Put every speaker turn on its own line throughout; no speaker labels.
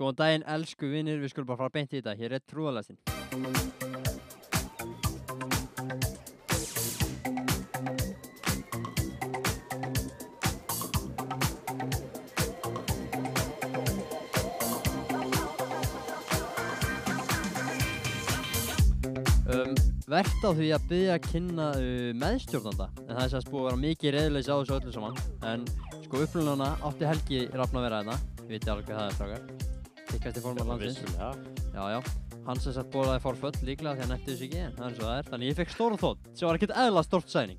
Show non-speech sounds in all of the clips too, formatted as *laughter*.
Góðan daginn, elsku vinnir, við skulum bara fara beint í þetta. Hér er trúðalestin. Um, Vert á því að byggja að kynna uh, meðstjórnanda, en það er sérst búið að vera mikið reyðleysi á þessu öllu saman, en sko upplunana átti Helgi rafna að vera hérna, við veitum alveg hvað það er strákar, tikkasti formar landsins.
Vissulega.
Já, já, hann sem sagt bólaði forföll líklega því hann eftir þessu ekki en það er svo það er, þannig ég fekk stóra þótt sem var ekkert eðla stórt sæning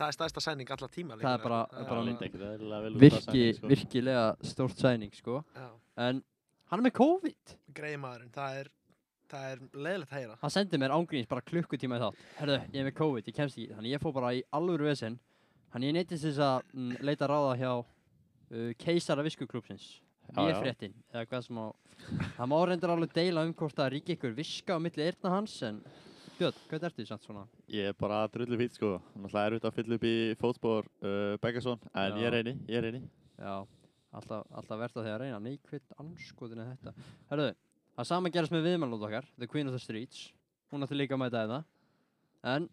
Það er stærsta sæning alla tíma
Það er bara-
Það
bara-
leit ekkert eðlilega vel út að
Virki,
sæning, sko.
virkilega stórt sæning sko en hann er með COVID
Greimaðurinn, það er Það er leiðilegt að heyra
hann sendi mér ángríns bara klukkutíma í þátt herðu, ég er með COVID, ég kemst ekki þannig ég fór bara í alvöru vesinn þannig ég neytist þess að mm, leita ráða hjá uh, keisara viskuklúpsins
Já,
ég
já.
fréttin, eða hvað sem á það má reyndar alveg deila um hvort það rík ykkur viska á milli eyrna hans en Björn, hvað ertu samt svona?
Ég er bara drullu fýtt sko. Náttúrulega er út að fylla upp í fótspor uh, Beggason, en
Já.
ég reyni, ég reyni.
Já, alltaf, alltaf verðt á því að reyna neikvitt anskotin er þetta Herðu, það sama gerast með viðmælóð okkar The Queen of the Streets Hún átti líka að mæta hérna En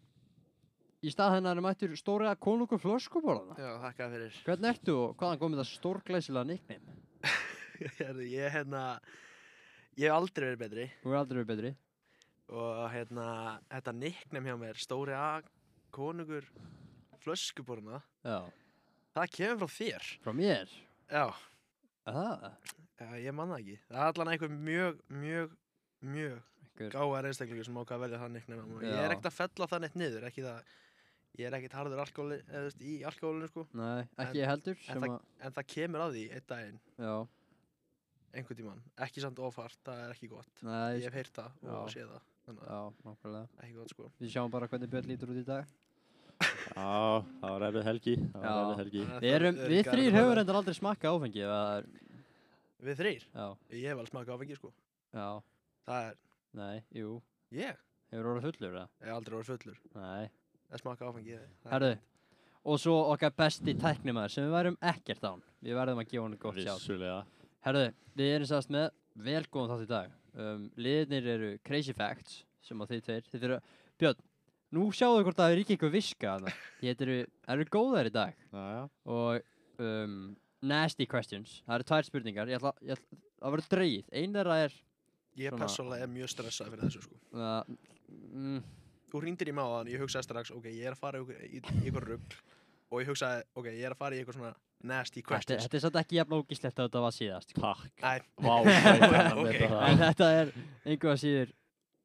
í stað hennar er mættur stóra konungur flöskuborðana
Já, þakka fyrir *laughs*
Hvernig ertu og hvaðan komið það stórglæsilega nickname?
Heyrðu, Ég hérna Ég hef aldrei verið betri
Þú er aldrei verið betri
og hérna Þetta nicknum hjá mér, stóri A konungur flöskuborna
Já,
Það kemur frá þér
frá mér
Já,
Það,
já ég man það ekki Það er allan einhver mjög, mjög, mjög
einhver
gáðar einstaklingur sem ákvað að velja það nicknum Ég
Já.
er ekkert að fella það neitt niður, ekki það Ég er ekkert harður alkoholi, eða, þú veist, í alkoholinu sko
Nei, ekki ég heldur
en
sem að,
En það kemur að því einn daginn,
já,
einhvern tímann Ekki samt ofart, það er ekki gott
nei,
Ég hef heyrt það og
Já.
séð það Þannig að
já, nákvæmlega
ekki gott sko
Við sjáum bara hvernig Björn lítur út í dag
Já, það var erfið helgi, það var
Já.
erfið helgi.
Þannig að
Við,
það
erum,
er
við
ekki
þrýr
hægt að
höfum
fara-
reyndar aldrei smakka áfengi það er,
Við þrýr?
Já,
Ég hef alveg smakað áfengi sko
já,
Það er,
nei, jú
ég
Hefur orðið fullur eða?
Ég hef aldrei orðið fullur
Nei.
að smaka áfengi ég- það er
Herðu,
rétt.
og svo okkar besti tæknimaður sem við værum ekkert án. Við verðum að gefa hann gott sjálf.
Vissulega.
Herðu, við erum sérst með vel góðan þátt í dag. Um, liðnir eru Crazy Facts sem að þið tveir. Þið eru, Björn, nú sjáðu hvort að það er ekki eitthvað viska þarna. Þið eru, eru góðar í dag.
Já, já.
Og um, Nasty Questions, það eru tvær spurningar. Ég ætla, ég ætla, það verður dreigið. Einn þeirra er,
Ég
svona-
persónulega er mjög stressað fyrir þessu sko
uh, mm,
Þú ringdir í mig á þann, ég hugsaði strax Ok, ég er að fara í einhver- í í eitthvað rugg Og ég hugsaði, ok, ég er að fara í eitthvað svona nasty
þetta,
questions
þetta er satt ekki jafn ógislegt að þetta var síðast. sko.
Takk.
Æ,
*laughs* Vá, hvað ég kann að
Ok.
meta
en
það.
*laughs* þetta er einhver að síður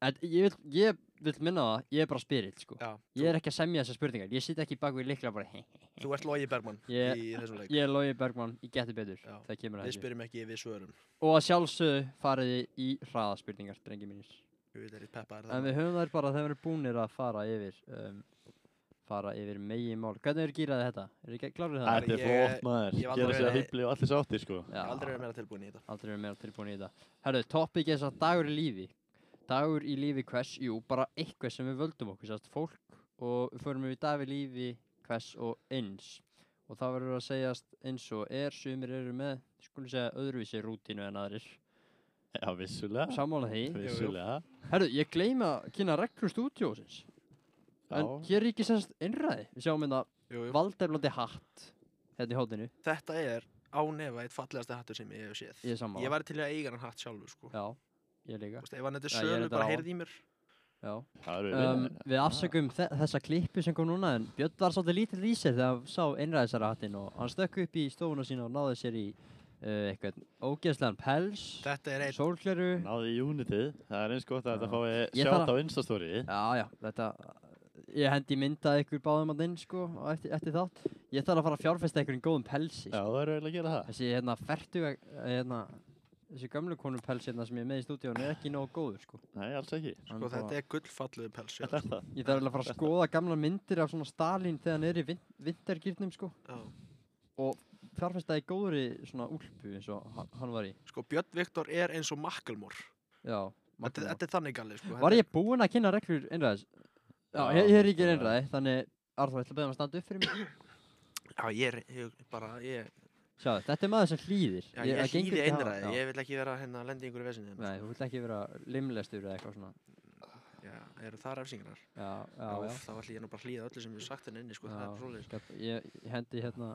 en ég vil, ég vil minna á það, ég er bara spyrill sko.
já,
ég er ekki að semja þessar spurningar, ég sit ekki bak við líkla bara hei, hei.
þú ert Logi Bergman
Ég-
í þessum leik
ég er Lói Bergmann, ég geti betur
Já,
það kemur að
Við
þessu
spyrjum ekki, við svörum
og að sjálfsögðu fariði í hraðaspurningar, drengi mínir
Við erum peppaðir
en
þarna.
við höfum þær bara þegar við erum búnir að fara yfir um, fara yfir megi mál hvernig eru gýraði þetta? eru ekki klárið það?
Æ,
Þetta er
Ég-
flott maður.
ég hef aldrei
Gera sig að
verið-
hýbli og allir sáttir sko.
Ég hef aldrei verið meira tilbúin í þetta
aldrei verið meira tilbúin í þetta Herðu, topic er satt dagur í lífi Dagur í lífi hvers, jú, bara eitthvað sem við völdum okkur, satt fólk og við förum við dag í lífi hvers og eins og það verður að segjast eins og er sumir eru með, skulum segja, öðruvísi rútínu en aðrir
Já, vissulega.
Sammála því
jú.
Vissulega.
Herðu, ég gleyma að kynna reglur stúdíósins en
Já.
hér er ekki semst innræði Við sjáum hérna
jú, jú.
valdeflandi hatt hérna í hótinu,
Þetta er ánefa eitt fallegasta hattur sem ég hef séð
ég er sammála
Ég væri til í að eiga hann hatt sjálfur sko
Já, ég líka
Þú veist, ef hann þetta
Já, ég er
sölu
reyndar á
bara
hann.
heyrði í mér
Já
Það
um,
eru við. hérna.
við afsökum þe þessa klippu sem kom núna en Björn var svolítið lítill í sér þegar hann sá einræðisara hattinn og hann stökk upp í stofuna sína og náði sér í uh, eitthvað ógeðslegan pels,
Þetta er einn
sólgleru
Náði í unitið. Það er eins gott að
Já.
þetta fái
Ég þarf
sjátt á Instastory.
já já, þetta ég hendi myndað ykkur báðum að inn sko á eftir, eftir þátt, ég þarf að fara að fjárfesta ykkur um góðum pelsi,
Já,
sko.
það eru eiginlega að gera það.
þessi hérna fertu hérna, þessi gömlu konu pels hérna sem ég er með í stúdíónu er ekki nógu góður sko
Nei, alls ekki.
Hann
Sko
bara-
þetta er gullfalluðu pels já.
Þetta er það.
ég þarf eiginlega að fara að skoða gamla myndir af svona Stalin þegar hann er í vin vintergýrnum sko
Já.
fjárfestaði í góðri svona úlpu eins og hann, hann var í
Sko Björn Viktor er eins og Macklemore
já,
Þetta,
Magnús.
þetta er þannig galli sko
var ég búinn að kynna reglur einræðis já,
Já,
ég, ég er ekki
já.
*coughs*
einræði þannig Arþór, ætla að beða maður að standa upp fyrir mig
Já ég er ég, bara ég
Sjá, þetta er maður sem hlýðir
Já, ég,
það
ég
gengur
hlýði
ekki að-
einræði,
já.
ég vil ekki vera hérna að lenda í einhverju vesinu
Nei, þú vilt ekki vera limlestur eða eitthvað svona
Já, eru það refsingarnar?
Já, já,
Já,
já,
úff, Þá ætlum ég nú bara að hlýða öllu sem ég sagt henni inni, sko, það
Já,
er svoleiðis
gat- Ég, ég hendi hérna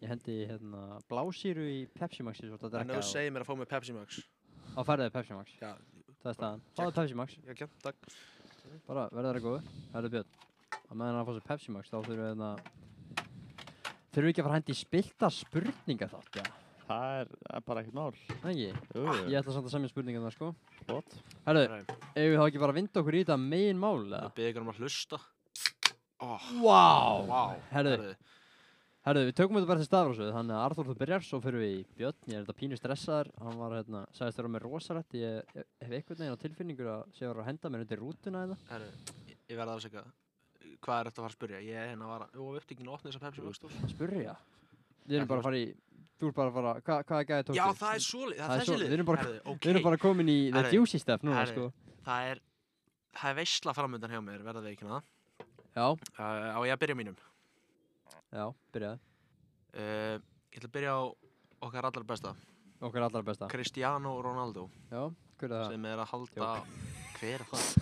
Ég hendi hérna blásýru í Pepsi Maxi svo þetta
En ef
drekka
þú
og-
segir mér að fá mig Pepsi Max
á færðið Pepsi Max
Já,
Það er staðan, fáðu Pepsi Max
já, já, takk
bara verða það góður, herðu Björn að meðan hann að fá sér Pepsi Max þá þurfum við hérna þurfum við ekki að fara að hendi spilta spurninga þátt já,
Það er, það er bara ekkert mál.
Nei, ég,
Jú,
ég ætla samt að semja spurninga það sko
flott.
herðu,
Ræm.
eigum við þá ekki bara að vinda okkur í þetta megin mál eða?
Ég byrði ykkur um að hlusta Ó,
Vá,
vá
Herðu.
herðu,
herðu, við tökum þetta bara til stafrásöðu þannig að Arþór þú byrjar, svo fyrir við í Björn ég er þetta pínu stressaður, hann var hérna sagðist þér á mig rosalegt, ég, ég hef einhvern veginn á tilfinningur að séu að henda mér undir rútuna eða
herðu, ég- ég verði að afsaka Hvað er þetta að fara að spyrja? Ég er hérna að vara, jú, upptökin og opna þessa Pepsi Max dós.
spurja, við erum bara að fara í þú er bara að fara, hva, hvað er gæði tók
Já, það er svoleið, það
Það er
er þessi
svoleiðis,
lið
við erum bara-
Herðu,
Við erum
ókei.
bara komin í the
Herri,
juicy stuff núna,
herri.
sko.
Það er, það er veisla framöndan hjá mér, verða við ekki hana
Já,
Uh, Á ég að byrja á mínum
já, byrjaði.
Uh, ég ætla að byrja á okkar allar besta,
Okkar allra besta.
Cristiano Ronaldo,
Já, hver er það?
sem er að halda, hver er það?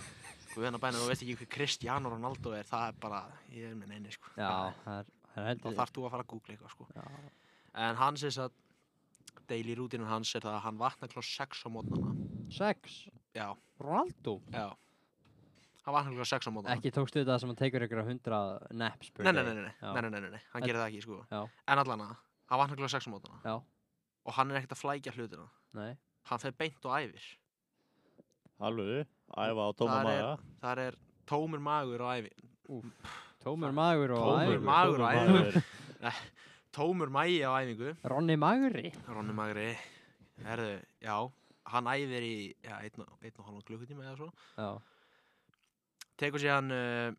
Guð hennar bæna, þú veist ekki hver Cristiano Ronaldo er, það er bara, ég er minn eini, sko.
Já, það er, það er
Það
heldur.
þarf þú að fara að googla eitthvað, sko.
Já,
En hans er að, daily rútinu hans er það að hann vaknar klá 6 á mótnana.
sex.
Já,
Ronaldo.
já. Hann vaknar klá 6 á mótnana.
Ekki tókstu þetta sem hann tekur ykkur að hundra naps per
Nei, nei,
day?
nei, nei, nei,
Já.
nei, nei, nei, nei, nei, hann
En-
gerir það ekki, sko.
Já.
En allan að, hann vaknar klá 6 á mótnana.
Já,
Og hann er ekkert að flækja hlutina.
nei.
Hann fer beint og æfir.
Alveg, æfa á tóma
Þar er-
maga.
Þar er tómur magur og æfi.
Tómur magur og
Tómur
æfingu.
magur. og æfir.
æfa.
Tómur mægi á æfingu.
Ronny magri.
Ronni Magri, herðu, já, hann æfir í, já, einn og, einn og halvan klukkutíma eða svo.
Já,
Tekur sér hann, uh,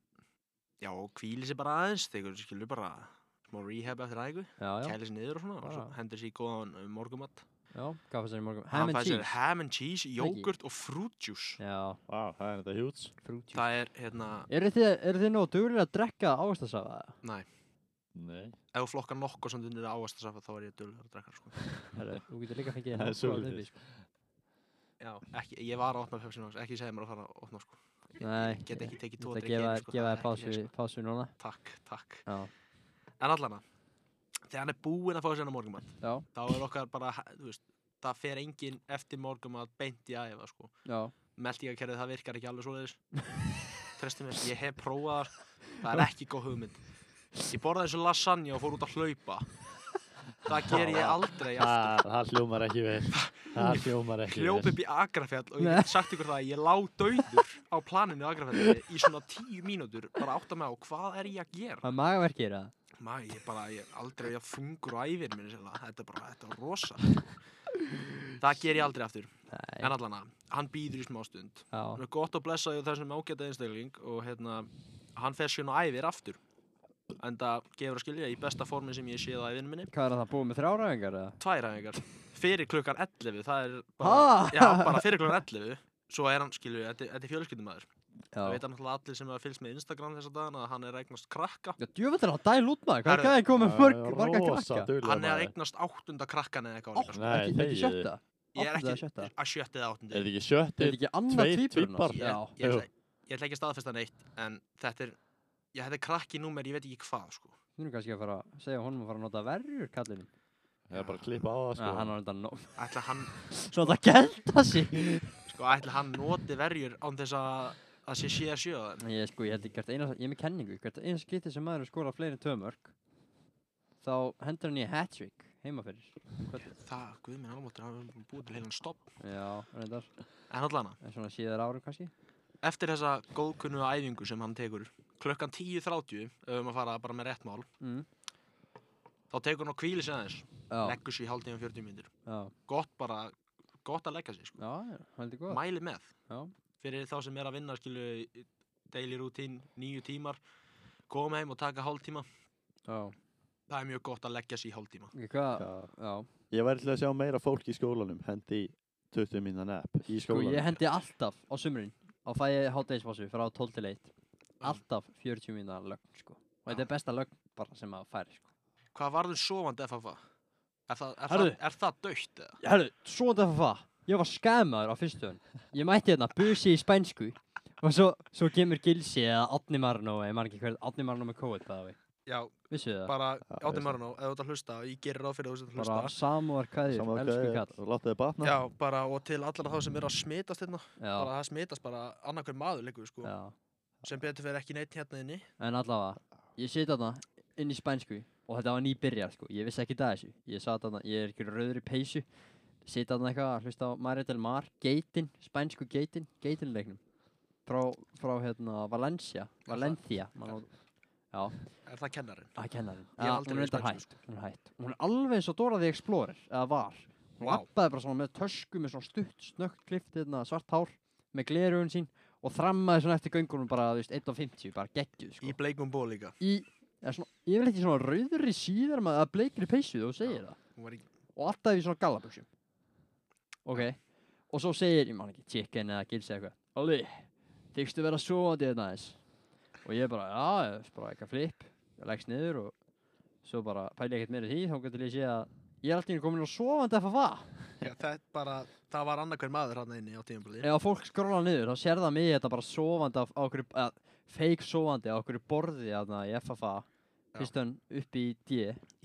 já, kvíli sér bara aðeins, tekur sér skilur bara smá rehab eftir æfingu,
já, já.
kæli sér niður og svona, og svo
Bara.
hendur sér í góðan uh, morgumatt.
Já, gaf þessari um morgun.
Hann
Ham and
fær sér
cheese.
Ham and cheese,
Það ekki?
jógurt og fruit juice.
Já,
Vá, það er þetta hjúts.
frúti.
Það er, hérna,
Eru þið, eru þið nóg duglega að drekka ávastasafa?
Nei.
ef þú flokkar nokkuð sem undir ávastasafa, þá er ég dölur að drekka, sko.
Herru, þú getur líka að fengið
Það er
nóg góða
svoleiðis.
uppi, sko.
Já, ekki, ég var að opna pepsi max, ekki segja mér að fara að opna, sko.
Nei,
Ég get ekki tekið tvo
þetta
drikki í
gefa
einu,
þér-
sko,
gefa
það
þér
er ekki
pásu,
hægt,
pásu núna.
sko. Takk, takk.
Já,
En allana, þegar hann er búinn að fá sér hann morgumann,
já,
þá er okkar bara, ha- þú veist, það fer enginn eftir morgumann beint í aðefa, sko.
já.
Meldingakerfið, það virkar ekki alveg
*laughs*
svoleiðis. Tresti mér, ég hef prófað það, það er ekki góð hugmynd. Ég borðaði þessu lasagna og fór út að hlaupa.
*laughs*
Það ger ég aldrei aftur.
Það það hljómar ekki
*laughs*
vel. Það hljómar ekki vel.
Hljóp upp í Agrafjall og ég get sagt ykkur það að ég lá dauður á planinu Agrafjallinni í svona tíu mínútur bara átt að með á hvað er ég að gera.
Það er magaverkir eða?
Mæ, ég bara, ég er aldrei að fungur á æfir minni sinna. Þetta er bara, þetta var rosa. það ger ég aldrei aftur.
Nei,
En allan að, hann býður í smá stund.
já,
Hann er gott að blessa því þessum ágæta einstakling og hérna, hann fer síðan á æfir aftur. En það gefur að skilja í besta formi sem ég séð á æfinu minni.
hvað er það búið með þrjáræðingar eða?
Tvær æfingar. Fyrir klukkan 11, það er bara,
Ha?
já, bara fyrir klukkan 11. Svo er hann, skilju, þetta þetta er fjölskyldumæður. Það
Já,
veit hann náttúrulega allir sem hafa fylgst með Instagram þess dagana að hann er að eignast krakka.
já djöfell er það dæl út maður, hvað er
Herðu,
gæðin komið
Það er
mörg, marga
rosa
krakka?
duglegur
Hann er að
maður.
eignast áttunda krakkan eða eitthvað. á líka,
Átt,
sko.
Nei,
ekki, ekki
þegiðu.
sjötta?
Ég er
Áttunda eða
ekki
sjötta?
að sjötta eða
Er
áttundi.
þetta ekki
Er
sjöttir?
þetta ekki annað
tveir
tvíburinn
tvíburar.
hans?
Ég,
Já,
ég,
Jú.
ætla, ég ætla ekki að staðfesta neitt en þetta er, já, þetta er krakki númer ég veit ekki hvað sko.
þú erum kannski að fara að segja honum að fara að nota verjur kallinum.
Það er bara að klippa á það
Já, hann
sko.
var þetta nóg. *laughs*
ætla hann,
Svo þetta gelda sig.
sko, ætla hann noti verjur án þess að að sé sé að sjö það
Ég sko, ég held ekki hvert einast, ég er með kenningu, hvert einast skytti sem maður er skorað fleiri en tvö mörg, þá hendur hann í hat-trick heima fyrir. Hvern-
það, guð minn almáttur, hann er búið til heilan stopp
Já, reyndar,
en allan,
en svona síðar árum kannski.
eftir þessa góðkunnu æfingu sem hann tekur klukkan 10.30 ef við erum að fara bara með rétt mál
Mm.
þá tekur hann á kvíli sem aðeins
Já,
leggur sér í hálftíma 40 myndir
já,
gott bara, gott að leggja sér sko.
já, já, heldur góð.
mæli með
Já.
fyrir þá sem er að vinna skilu daily routine, nýju tímar koma heim og taka hálftíma
Já,
það er mjög gott að leggja sig í hálftíma
ekki hvað,
Já.
já.
Ég væri til að sjá meira fólk í skólanum. Hendi í 20 minna nap í
Sko, ég
skólanum.
hendi alltaf á sumrin á fæði hátæðispassu frá 12 til 1
Já.
alltaf 40 mínúna lögn, sko. Og þetta er besta lögn bara sem maður fær, sko.
um hvað varður sofandi FFA? Er það, er það,
Herðu.
er það dögt eða?
Herru, svona þetta var Ég var skamaður á fyrstu hann. Ég mætti hérna busi í spænsku og svo, svo kemur Gilsi eða Adni Marno, ég man ekki hver, Adni Marno með kóið bæða við.
Já,
Vissu þið það?
bara
Já,
Átni
veist.
Marno, ef þú ert að hlusta og ég gerir ráð fyrir að þú ert að
Bara
hlusta
samúar kæðir,
Sama hvað
elsku
er,
kall.
Láttu þið batna.
Já, bara og til allar þá sem eru að smitast hérna
Mm. Já,
bara það smitast bara annarkveð maður líku sko
já.
sem betur fyrir ekki neitt hérna inni
En allavega, ég seti þarna inn í spænsku og þetta var nýbyrjar sko, ég vissi ekki það þessu. Ég sat þarna, ég er ekki rauður í peysu, seti þarna eitthvað að hlusta á Mario del Mar, geitin, spænsku geitin, geitinleiknum. Frá, frá hérna Valencia, Valencia, man á, já.
Er það kennarinn?
að kennarinn
Ég hef
ja,
aldrei
hún er
verið
reyndar
spænsku,
hætt,
sko.
hún er hætt hún er alveg eins og Dora the Explorer eða var hún
Vá.
lappaði bara svona með tösku með svona stutt snögt klift hérna svart hár með glerugun sín og þrammaði svona eftir göngunum bara þú veist 1.50 bara geggjuð
Í
sko.
bleikum ból líka
í eða svona yfirleitt í svona rauðri síðar maður að bleikri peysu þú segir það
Hún var í
og alltaf í svona gallabuxum ok og svo segir ég man ekki chicken eða gilsi eitthvað Olli þykstu vera svoandi þetta aðeins og ég bara já ég bara eitthvað flip ég leggst niður og svo bara pæli ekkert meira í því þá getur ég sé að ég er alltaf inn komin á svoandi FFA
Já, það, er bara, það var annarkveð maður hérna inni á tímabili
ef að fólk skróla niður þá sér það mig þetta bara svoandi á, á okkur að fake svoandi á okkur borði þarna í FFA
Já.
fyrst hann upp í D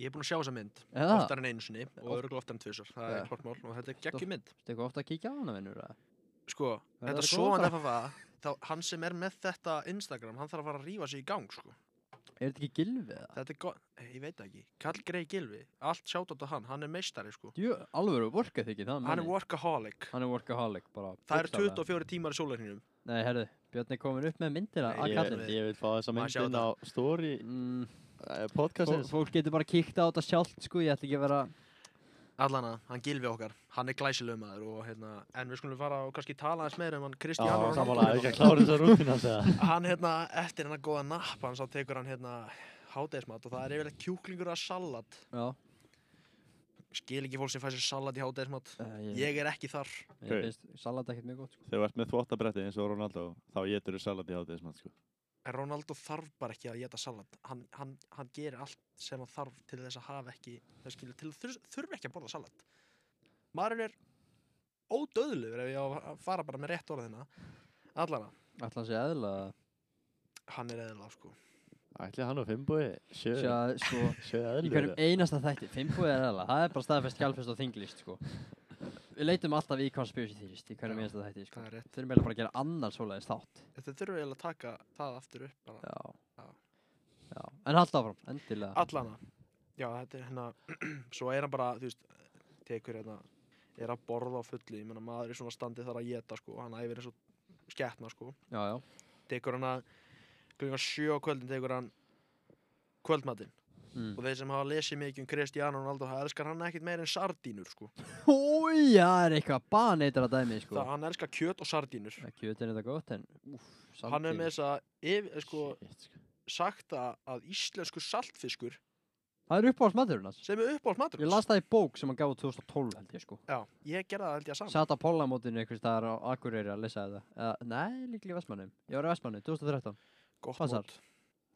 Ég er búinn að sjá þessa mynd
eða
oftar en einu sinni og
Oft-
örgulega oftar en tvisar það
Já.
er klart mál og þetta er geggjum mynd
Ertu eitthvað ofta að kíkja á hana vinnur eða?
sko,
Það er
þetta
góð
svoan
bara.
FFA þá, hann sem er með þetta Instagram hann þarf að fara að rífa sig í gang sko.
er þetta ekki gilfið eða?
þetta er gott, Eh, ég veit það ekki Karl Grey Gilvi, allt sjátt á hann hann er meistari sko,
Jú, alvöru vorka þykir það
hann
manni.
er workaholic
Hann er workaholic bara
það eru
bókstaflega.
24 tímar í sólarhinum
Nei, herðu, Björn er komin upp með myndina
Nei,
að
Ég,
kallinu
ég vil fá þessa
Má
mynd
sjá
inn á story
mm,
eh,
fó-
podcastins.
Fólk getur bara kíkt á þetta sjálft sko, ég ætla ekki að vera
allana, hann Gilvi okkar, hann er glæsilegum maður og hérna, en við skulum fara og kannski tala aðeins meira um hann
Já,
Kristján
sammála, ekki að klára þessa rútina segja.
hann hérna, eftir hennar góða napp hann sá tekur hann hérna hádegismat og það er yfirlega kjúklingur að salat
Já,
skil ekki fólk sem fær sér salat í hádegismat
uh,
ég er ekki þar
ég
Ok.
finnst salat ekkert mjög gott sko.
Þegar þú ert með þvottabretti eins og Ronaldo, þá getur þú salat í hátíðismat, sko.
en Ronaldo þarf bara ekki að geta salat hann, hann, hann gerir allt sem hann þarf til þess að hafa ekki þess skilur, til þur, þurfi ekki að borða salat maðurinn er ódöðlugur ef ég á að fara bara með rétt orðina allana,
Ætla hann sé eðla
hann er eðla sko
Ætli hann og Fimboi, sjö,
Sjá, *laughs* sko,
sjö
í
eðlur.
hverjum einasta þætti Fimbúið er eðla, það er bara staðfest kjálfest og þinglist sko. Við leitum alltaf í conspiracy theorist í hverjum
Já,
einasta þætti sko.
það er rétt
Þeir meðlega bara að gera annar svoleiðis þátt
þetta þurfi eiginlega að taka það aftur upp bara.
Já,
Já.
Já. En halda áfram, endilega
allana, já þetta er hérna *clears throat* svo er hann bara, þú veist tekur hérna, er að borða á fullu ég meina maður í svona standi þarf að geta sko hann æfir eins og sketna sko
Já, já,
tekur hann að klukkan sjö á kvöldin tekur hann kvöldmatinn
mm.
og þeir sem hafa lesið mikið um Cristiano Ronaldo það elskar hann ekkit meir en sardínur sko.
Új, það er eitthvað baneitra dæmi sko.
það hann elskar kjöt og sardínur
Það kjötin er þetta gott en úf,
hann er með þess að yfir- sko,
Shit, sko.
sagt að, að íslensku saltfiskur
Það er uppáhalds maturinn hans
sem er uppáhalds matur
Ég las það í bók sem hann gaf út 2012 held ég sko
já, ég gerði það held ég saman
Sat á pollamótinu einhvers staðar á Akureyri að lesa þetta uh, Nei, líklega í Vestmannum Ég var í Vestmannum, 2013
gott
Passar.
mót,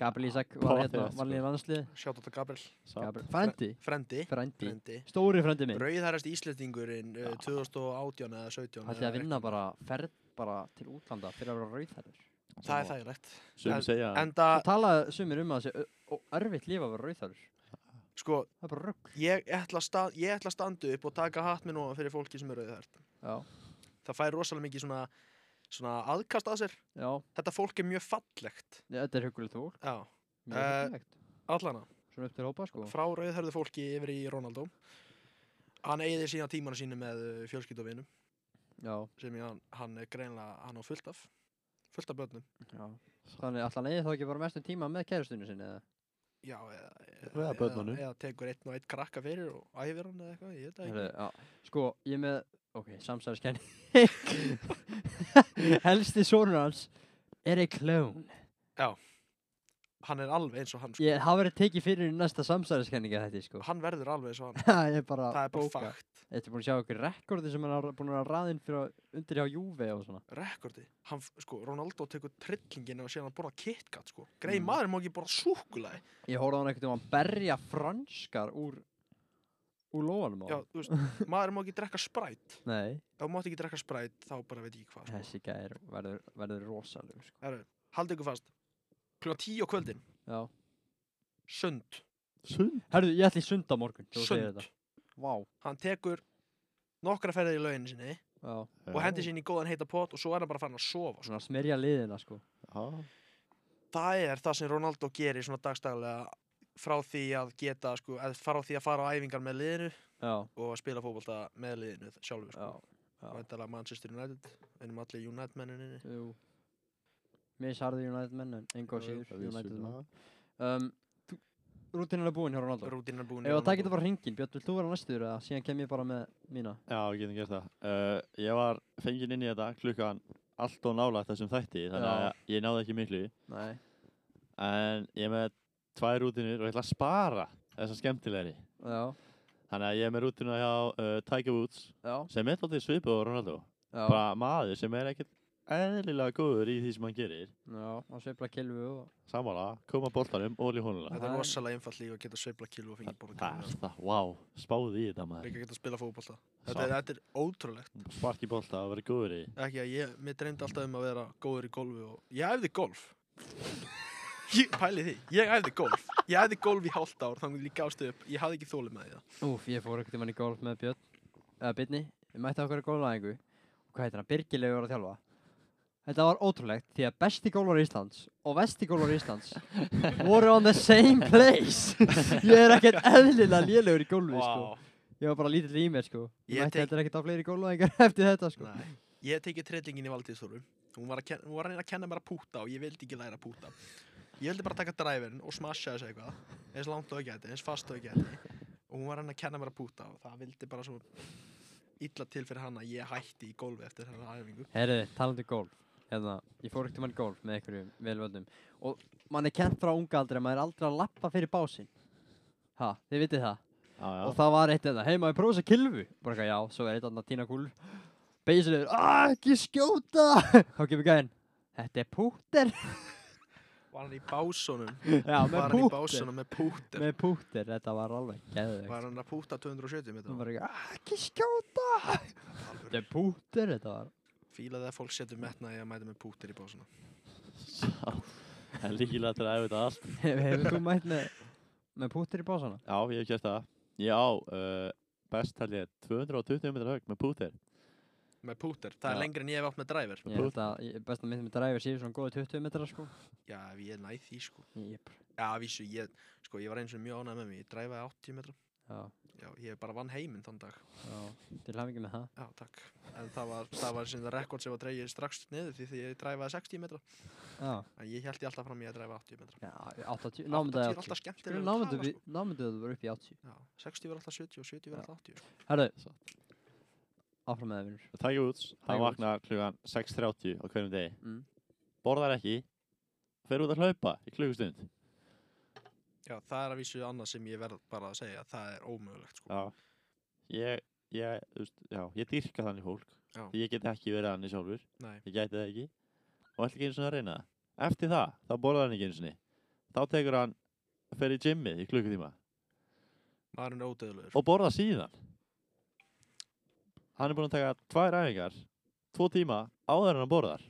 Gabriel Ísak var hérna,
Pottet, sko.
var líka í landslið
sjátt þetta Gabriel
Samt.
Frendi,
frendi,
frendi,
frendi.
stóri frendi minn
Rauðhærast Íslendingurinn uh,
Já.
2018 eða 17
Hann ætlaði
eða
að vinna bara ferð bara til útlanda fyrir að vera rauðhæður
eitthvað. það er þægilegt
Sum segja,
enda
Það talaði sumir um að það sé ö- ó, erfitt lífa að vera rauðhæður
sko
Það er bara rugg
ég ætla, að sta, ég ætla að standa upp og taka hatt minn ofan fyrir fólki sem er rauðhært
Já,
það fær rosalega mikið svona, svona aðkast að sér
já,
þetta fólk er mjög fallegt
Nei, þetta er huggulegt fólk
já,
Mjög
Eh,
huggulegt
allana
Svona upp til hópa sko
frá rauðhærðu fólki yfir í Ronaldo hann eigði sína tímana sínu með uh, fjölskylduvinum
Já,
sem ég, hann, hann er greinlega hann á fullt af fullt af börnum
já Þannig alltaf neyði þá ekki bara mestum tíma með kærustunni sinni eða
já, eða,
Eða börnunum.
eða tekur einn og einn krakka fyrir og æfir hann eða eitthvað, ég veit það
Heru,
ekki
já, sko, ég er með, ok,
*laughs*
samsæðiskenni Helsti sonur hans er ein klón
hann er alveg eins og hann sko.
Ég hafa verið tekið fyrir í næsta samsæðiskenninga þetta, sko *laughs*
hann verður alveg eins og hann
Það er bara
það er bara
bókað.
fakt,
Þetta er búin að sjá okkur rekordi sem hann er búin að raðin fyrir að undir hjá Júve og svona
rekordi hann, f- sko, Ronaldo tekur trillingin og síðan hann borða KitKat sko. grei
Mm.
maður má ekki borða súkulæði
Ég horfði á hann ekkert um að berja franskar úr úr lóanum á
já,
honum.
þú
*laughs*
veist, maður má ekki drekka spræt
Nei,
ef þú mátt ekki drekka spræt þá bara veit ég ekki hvað sko.
þessi gæðir verður, verður rosalug sko.
Herru, haldið ykkur fast klukkan 10 á kvöldin,
Já
sund
Sund?
Herðu, ég ætla í sund á morgun þú segir
sund,
þetta. Vá
hann tekur nokkra ferðir í lauginu sinni
Já,
og hendir sér inn í góðan heita pott og svo er hann bara farin að sofa sko.
svona smerja liðina sko
Já,
það er það sem Ronaldo gerir svona dagstaglega frá því að geta sko, eða frá því að fara á æfingar með liðinu
Já,
og að spila fótbolta með liðinu sjálfur sko.
já, já
Væntalega Manchester United, einum allir United menninni
Jú Mér sarði United menn en enga
Já, já,
síður
það vissi
United menn
maður.
um, þú- Rútínan er búin hjá Ronaldo
Rútínan er búin
Ef það takir þetta bara hringin, Björn, vilt þú vera næstur eða síðan kem ég bara með mína
Já, við getum gert það. Uh, ég var fenginn inn í þetta klukkan allt og nála þessum þætti, þannig
Já.
að ég náði ekki miklu.
Nei
En ég er með tvær rútinur og ég ætla að spara þessar skemmtilegri.
Já,
Þannig að ég er með rútinu hjá uh, Tiger Woods,
já,
sem er þáttið svipið á Ronaldo.
já
Bara maður sem er ekkert eðlilega góður í því sem hann gerir.
Já, að sveifla kilvu og
Samála, koma boltanum og olí honuna.
Þetta er
Það er-
rosalega einfalt líf að geta sveifla kílu og fengið borða
Það er það, wow, spáði í þetta maður.
Líka geta að spila fótbolta þetta,
Sá-
er- þetta er ótrúlegt
Sparki bolta og verið góður í.
Ekki að ég, mér dreymdi alltaf um að vera góður í golfi og Ég æfði golf *laughs* Ég pæli því, ég æfði golf Ég æfði golf í hálft ár, þannig að ég gafst upp Ég hafði ekki þólið með því það
Úf, ég fór ekkert um hann í golf með Björn eða Byrni, við mætti okkur að golfæðingu og hvað heitir hann, Birgilegu var að þjálfa Þetta var ótrúlegt því að besti gólvar Íslands og vesti gólvar
*laughs*
Íslands voru on the same place Ég er ekkert eðlilega lélegur í golfi sko. Ég var bara lítill í mér sko Ég
Ég
mætti
tek-
heldur ekkert á fleiri gólfæðingar *laughs* eftir þetta sko
Nei, ég tekið trillingin í valdíðsþóru hún var, að ken- hún var að reyna að kenna mér að púta og ég vildi ekki læra að púta ég vildi bara taka driverin og smasha þessu eitthvað eins langt og ég gæti, eins fast og ég gæti og hún var að reyna að kenna mér að púta og það vildi bara svo illa til fyrir hann að ég hætti í gólfi eftir þennan æfingu
Herriði, talandi um golf hérna, ég fór ekkert um hann golf með einhverjum velvöldum og mann er kent frá unga aldrei að maður er aldrei að lappa fyrir básinn ha, þið vitið það
Já, já.
og það var eitt hérna, þetta, hei maður prófa þess að kilfu bara eitthvað, já, svo er eitt annað tína kúl beysir yfir, aah, ekki skjóta *laughs* þá kemur gæðin, þetta er púter *laughs*
var hann í básunum
já, með
var hann í
púter,
básunum með púter
með púter þetta var alveg geðvegt
var hann að púta 270
það
metra
var eitthvað, aah, ekki skjóta *laughs* þetta er púter, þetta var *laughs*
fílaði að fólk setur metnaði að mæta með púter í básuna
Sá. *laughs* En líkilega til að æfa þetta allt.
hefur þú mætt með, með púter í básana?
Já, ég hef gert það. Ég á uh, best held ég 220 metra högg með púter.
með púter, það er
Já.
lengri en ég hef átt með driver
ég held að, ég- besta mynd með dræfið séu svona góði 20 metrar sko
já, ef ég næ því sko
ég, bara-
Já, vísu, ég, sko, ég var eins og mjög ánægð með mig, ég dræfaði 80 metra.
já,
Já, ég bara vann heiminn þann dag.
já, til hafingi með það
Já, takk. En það var, það var sem það rekord sem var dreigið strax niður því því ég dræfaði 60 metra.
já,
En ég held ég alltaf fram í að dræfa 80 metra.
já, 80, námyndaði
80 er
80
alltaf skemmtilega
Skulum
að tala,
námyndu, námyndu að þú voru upp í 80
sko. Já, 60 var alltaf 70 og 70 var
Já.
alltaf 80, sko.
Herðu,
Satt.
áfram með það vinnur
Tiger Woods, hann
Tiger Woods.
vaknar klugan 6.30 á hverjum degi.
Mm.
Borðar ekki, fer út að hlaupa í klukkustund.
Já, það er að vísu annað sem ég verð bara að segja, það er ómögulegt, sko.
Já. Ég, ég, þú veist, já, ég dýrka þannig fólk.
Já.
Ég get ekki verið þannig sjálfur,
Nei,
ég gæti það ekki. Og ætla ekki einu svona að reyna það. Eftir það, þá borðar hann ekki einu sinni. Þá tekur hann, fer í gymmið í klukkutíma
maðurinn er ódöðlegur.
og borðar síðan. Hann er búinn að taka tvær æfingar, tvo tíma, áður en hann borðar.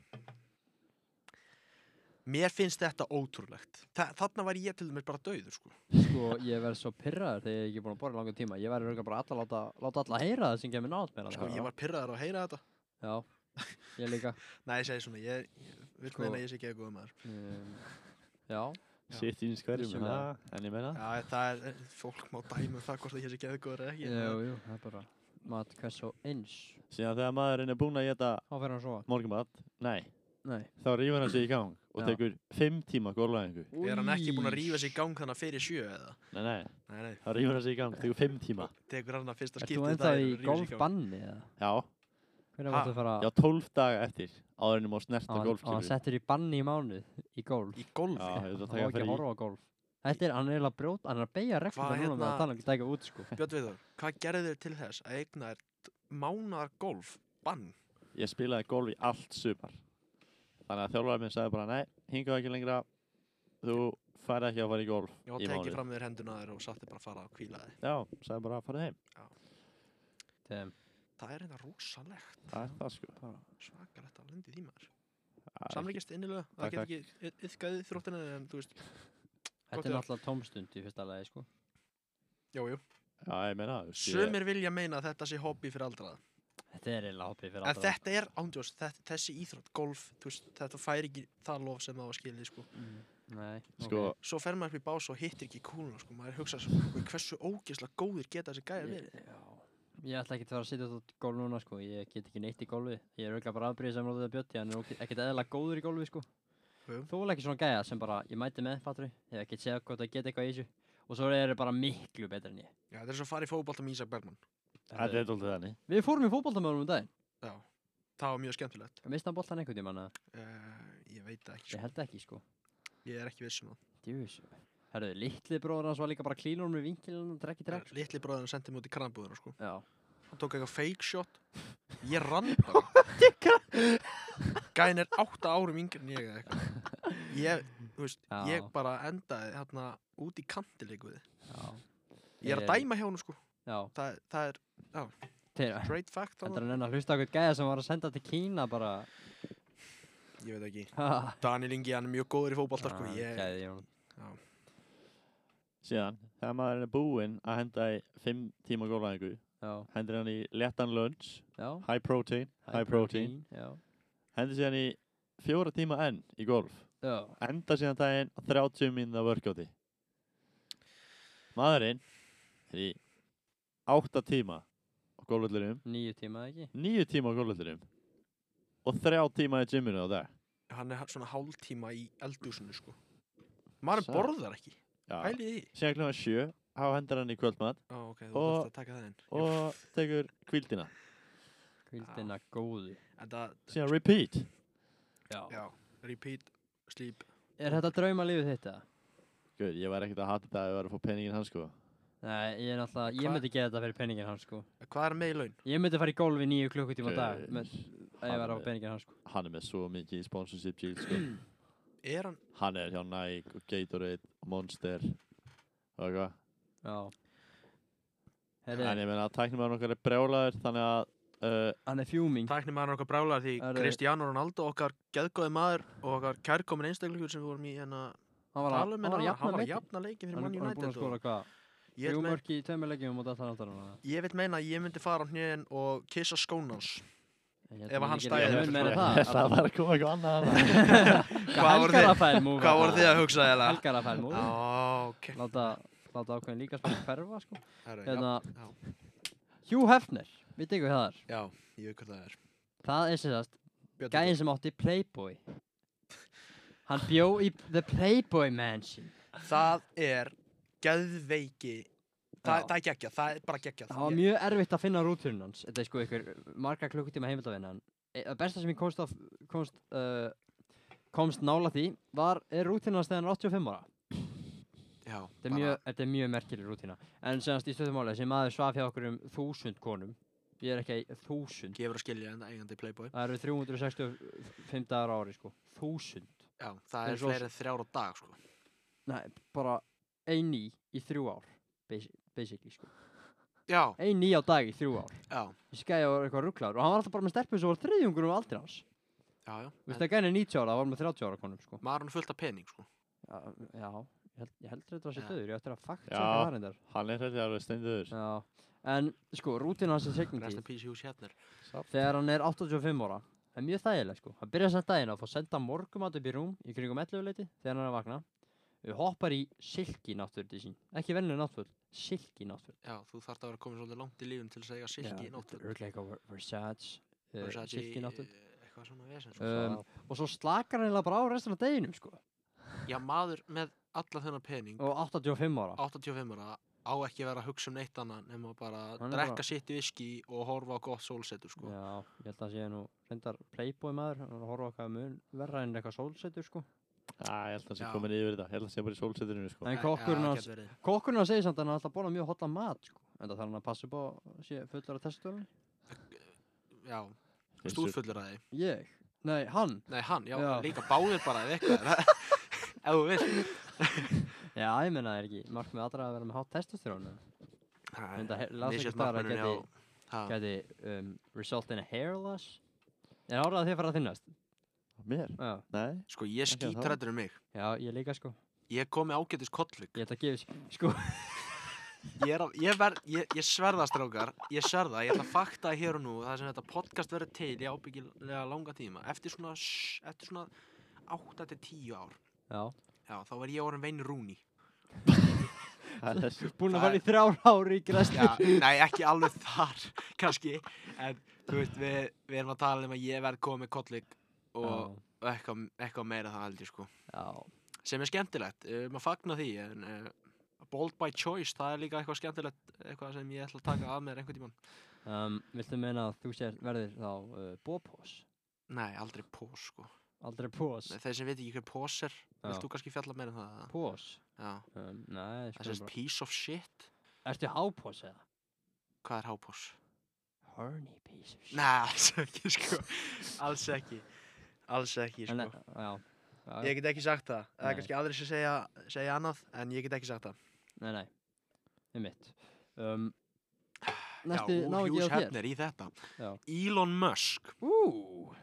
Mér finnst þetta ótrúlegt. Þa, þarna var ég til dæmis bara döður, sko.
sko, ég verð svo pirraður þegar ég er ekki búin að borða í langan tíma ég verður bara alla láta, láta alla heyra það sem kemur nátt mér
Sko,
þarna.
ég var pyrraður að heyra þetta.
já, ég líka
Nei, ég segi svona, ég, ég, vilt
Sko-
meina að ég sé ekki góð maður.
um, já,
Já.
Sitt í skverjum
Vissulega.
ha, En ég meina
Já, það er, fólk má dæma um það hvort það hér sé geðgóður eða ekki.
jú, jú, það er bara mat hvers og eins
Síðan þegar maðurinn er búinn að geta
þá fer hann svo,
morgunmat Nei,
nei
þá rífur hann sig í gang Og
Já.
tekur fimm tíma gólvæðingu
Er hann ekki búinn að
Új.
rífa sig í gang þannig fyrir sjö eða?
Nei, nei,
Nei, nei.
þá rífur hann sig í gang Tekur fimm tíma
Tekur hann að fyrsta
Ert þú
skipti
ennþá í
rífur sig gang.
golfbanni eða?
Já,
Hvernig
Ha,
vartu að fara
já, tólf daga eftir Áður en ég má snerta
og hann
gólfkjölu Já,
settur í banni í mánuð í golf
Í golf?
ég þarf að
hann má
taka
ekki
fyrir
að
í
horfa á golf þetta er, hann er eiginlega að brjóta, hann er að beigja reglum núna með
hérna-
að tala um að dæka út sko
Björn Viðar, hvað gerði þér til þess að eigna þér mánar golf bann?
Ég spilaði gólf í allt sumar Þannig að þjálfarið minn sagði bara Nei, hingaðu ekki lengra þú fær ekki að fara í golf
Já,
í
tekið
mánuð.
fram með þér henduna þér og satt þér bara að fara að kvíla þér.
Já, sagði bara að fara heim
Damn.
Það er reynda rosalegt.
Það er það sko Það
Svakalegt að lendi því maður.
er ekki-
Samlíkist innilega, það
Takk,
get ekki yð- iðkaði þróttina en þú veist, Gott
Þetta er
hjá.
náttúrulega tómstund í fyrsta lagi sko
jú, jú.
Já, ég meina þú veist, ég-
Sumir vilja meina að þetta sé hobby fyrir aldraða.
Þetta er eiginlega hoppið fyrir
En
allra
þetta er ándjós, þetta, þessi íþrótt, golf, þú veist, þetta fær ekki það lof sem það var skilið, sko.
Mm. Nei,
Sko,
ok.
Svo fer maður upp í bás og hittir ekki kúluna, sko. Maður hugsa svo, "Guð, hversu ógeðslega góðir geta þessi gæja verið.
Ég, já. ég ætla ekki að fara að sitja út gólf núna sko Ég get ekki neitt í gólfi Ég er auðvitað bara afbríð sem ráðið að bjötti Hann er ógeð- ekkert eðlilega góður í gólfi sko
Jú.
Þú vil ekki svona gæja sem bara Ég mæti með fattur Ég hef ekki séð hvort að geta eitthvað í þessu Og svo eru þeir bara miklu betur en ég
Já, þetta er svo að fara í fótbolta með Ísak Bergman.
þetta er dóltið þannig
Við fórum í fótboltamöðum um daginn
Já, það var mjög skemmtilegt.
Mista hann boltan einhvern tímann eða?
Uh, ég veit það ekki,
Ég
sko.
held ekki sko
Ég er ekki viss um það.
Djús Herðu, litli bróður hans var líka bara klínur með vinkilin og drekki drekk
Eh, Litli bróðin sendi mig út í krambúðuna, sko.
Já
Hann tók eitthvað
*laughs*
fake shot. Ég rann bara. Gæin er átta árum yngri en ég eða eitthvað. Ég, þú veist,
Já.
ég bara endaði hérna út í kantileikuði.
Já
Ég er að
Eh,
dæma hjá hún, sko.
Já,
Það, það er
þeirra
great fact.
Þetta
þarna.
er hann að hlusta á eitthvað gæja sem var að senda til Kína bara
Ég veit ekki.
Ha,
Daniel Ingi, hann er mjög góður í fótbolta, sko.
ah,
Ég,
gæði í honum.
Síðan, þegar maður er búinn að henda í 5 tíma gólaðingu
Já,
Hendur hann í léttan lunch,
já
high protein, high protein
Já,
Hendur síðan í 4 tíma enn í golf
já
Enda síðan daginn á 30 mínúna workouti Maðurinn er í 8 tíma á golfvöldurum
Nýju tíma ekki
9 tíma á golfvöldurum Og 3 tíma í gyminu á dag
hann er svona hálftíma í eldúsinu, sko. Maður
Sæt.
borðar ekki.
Já.
Pælið í því.
Síðan kljóðan 7 Há hendur hann í kvöldmat
Ó, ok, þú
Og-
þarfst að taka það inn.
Og tekur kvíldina
Kvildina
Ah.
góðu
En það,
Síðan repeat
Já
já, repeat, sleep.
Er þetta draumalífið þitt eða?
Guð, ég var ekkert að hata þetta að ég var að fá peningin hans sko
Nei, ég er náttúrulega Ég
Hva-
myndi gera þetta fyrir penningin hans sko
Hvað er með í laun?
Ég myndi fara í gólfi nýju klukkutíma á dag
Guð,
með- Ef ég var á
hann er-
penningin hans sko
Hann er með svo mikið sponsorship deal sko
*clears throat*
Er hann,
Hann er hjá Nike og Gatorade og Monster og eitthvað
Já
En
Herri,
ég meina að tæknum hann okkar er brjálaður þannig að uh,
hann er fjúming
tæknir maður okkar brálar því
Það eru-
Cristiano Ronaldo, okkar geðgóði maður og okkar kærkomin einstaklingur sem við vorum í en að
Hann var að
tala um
hann var að
hérna, hann
jafna
var að
leikinn. Hann
jafna leikin fyrir Man
er hann er búinn að
United og
skora hvað?
ég
Þrjú
vil meina-
mörk í tveimur leggjum og móta allar áttar
ég vil meina að ég myndi fara á hnén og kissa skónans Ef hann stæði
Ég
eftir sko.
mun meira
það.
*laughs* það
*laughs* Það var að koma eitthvað annað annað
Hvað voru þið-
Helgarafælmúf
Hvað voru þið að hugsa eða?
Helgarafælmúf
Á, ok
Láta, láta ákveðin líka spil hverfa sko.
Herru,
Hérna,
já.
Hugh Hefner, við tegum það þar
já, já, ég veit hvað það er
Það er sérst
Björn
gæðin sem átti Playboy Hann bjó í The Playboy Mansion
Þorri. Það er geðveiki
Já.
Það, það er geggjað, það er bara geggjað
Það var
Ég-
mjög erfitt að finna rúturinn hans Þetta er sko ykkur marga klukkutíma heimildavinna en e- Það besta sem ég komst, af, komst, uh, komst nála því var er rúturinn hans þegar hann er 85 ára
Já,
Þetta er mjög, þetta er mjög merkileg rútina En senast í stöðumáli, þessi maður svaf hjá okkur um þúsund konum Ég er ekki að þúsund
gefur að skilja en eigandi í Playboy
Það eru 365 dagar á ári sko Þúsund
Já,
er
það er
svo-
fleiri en þrjár á dag sko
Nei, bara ein í í þrjú ár basi- Basically sko
Já,
Ein í á dag í þrjú ár
já,
Þessi gæja var eitthvað rugglaður Og hann var alltaf bara með stelpum sem var þriðjungur um aldrei hans
já, já
Þú veist að gæja er 90 ára, það var með 30 ára konum sko
maður hann fullt af pening sko
Já, já ég held, ég held þetta að sé
Já.
döður Ég ætti að fakt
Já.
það reyndar
*laughs* Hann er hreldið alveg steinduður
Já, en sko, rútina hans er
rest
segningi
in peace Hughes Hefner
þegar hann er 85 ára það er mjög þægileg sko, hann byrjar samt daginn á að fá senda morgumat upp í rúm í kringum 11 leiti þegar hann er að vakna við hoppar í silki náttföld í sín ekki vennileg náttföld, silki náttföld
já, þú þarft að vera komin svolítið langt í lífun til þess að eiga silki í
þetta
nóttum
er örugglega eitthvað Ver- Versace, uh,
Versace,
silki náttföld
eh, eitthvað svona vesen sko.
um, og svo slakar hann eiginlega bara á restan af deginum sko,
já, maður með alla þennan pening
og 85 ára
85 ára á ekki að vera að hugsa um neitt annað nema bara að
Hann er bara-
drekka sitt viski og horfa á gott sólsetur sko
já, ég held að sé nú reyndar playboy maður, hann er að horfa á hvað mun verra en eitthvað sólsetur sko
Æ, ég held að hann sé
Já.
komin yfir þetta Ég held að hann sé bara í sólseturinu sko
en
Eh,
kokkurinn
já,
hans
gæti verið.
kokkurinn hans segir samt að hann er alltaf að borða mjög hotla mat sko, en það þarf hann að passa upp á að sé fullar af testunum
já,
Finnst þér-
stúrfullur að því
Ég? Nei, hann?
Nei, hann, já,
Já. *laughs*
líka báðir bara ef eitthvað er. ef ef þú vilt
Já, ég menna það er ekki markmið allra að vera með hátt testosterón eða? Enda, he- las ekki þar að
Misjöfnmarkmanurinn
geti-
á ha,
Gæti um, result in a hair loss Er árað að þið fara að þinnast?
Mér?
Já,
Nei,
Sko ég
Ekki að þá.
skítrættur um mig
já ég líka sko
Ég kom með ágætis kollug
Ég ætla að gefa s- sko
Ég, er að- ég, verð- ég, ég sverða strákar Ég sverða, ég ætla að fakta hér og nú Það sem þetta podcast verður til í ábyggilega langa tíma Eftir svona, s- eftir svona 8-10 ár
Já,
Já, þá var ég orðin vein rúni
það er *laughs* þessi
búin að
Það-
fara í þrjár ári í græslu
Já, nei, ekki alveg þar *laughs* kannski, en þú veist við, við erum að tala um að ég verð komið með kollug og
Já,
og eitthvað, eitthvað meira það held ég sko
já,
sem er skemmtilegt, uh, maður fagna því en uh, bold by choice, það er líka eitthvað skemmtilegt eitthvað sem ég ætla að taka að mér einhvern tímann
um, viltu meina að þú sér verðir þá uh, bópós?
nei, aldrei pós sko
Aldrei pós?
Nei, þeir sem veit ekki hver pós er,
Já.
vilt þú kannski fjalla meira um það eða?
Pós?
já,
Um, nei,
það
sko
sést
bara
piece of shit
Ertu hápós eða?
hvað er hápós?
Horny piece of shit
nei, *laughs* alls ekki sko alls ekki, alls ekki
En,
sko
eh, Já, já, já.
ég get ekki sagt það, það
Nei.
er kannski aðrir sem segja, segja annað en ég get ekki sagt það
Nei, nei, við mitt um,
já,
Næstu
úr
ná ekki
Hughes
á þér
Hefner í þetta
Já.
Elon Musk
Ú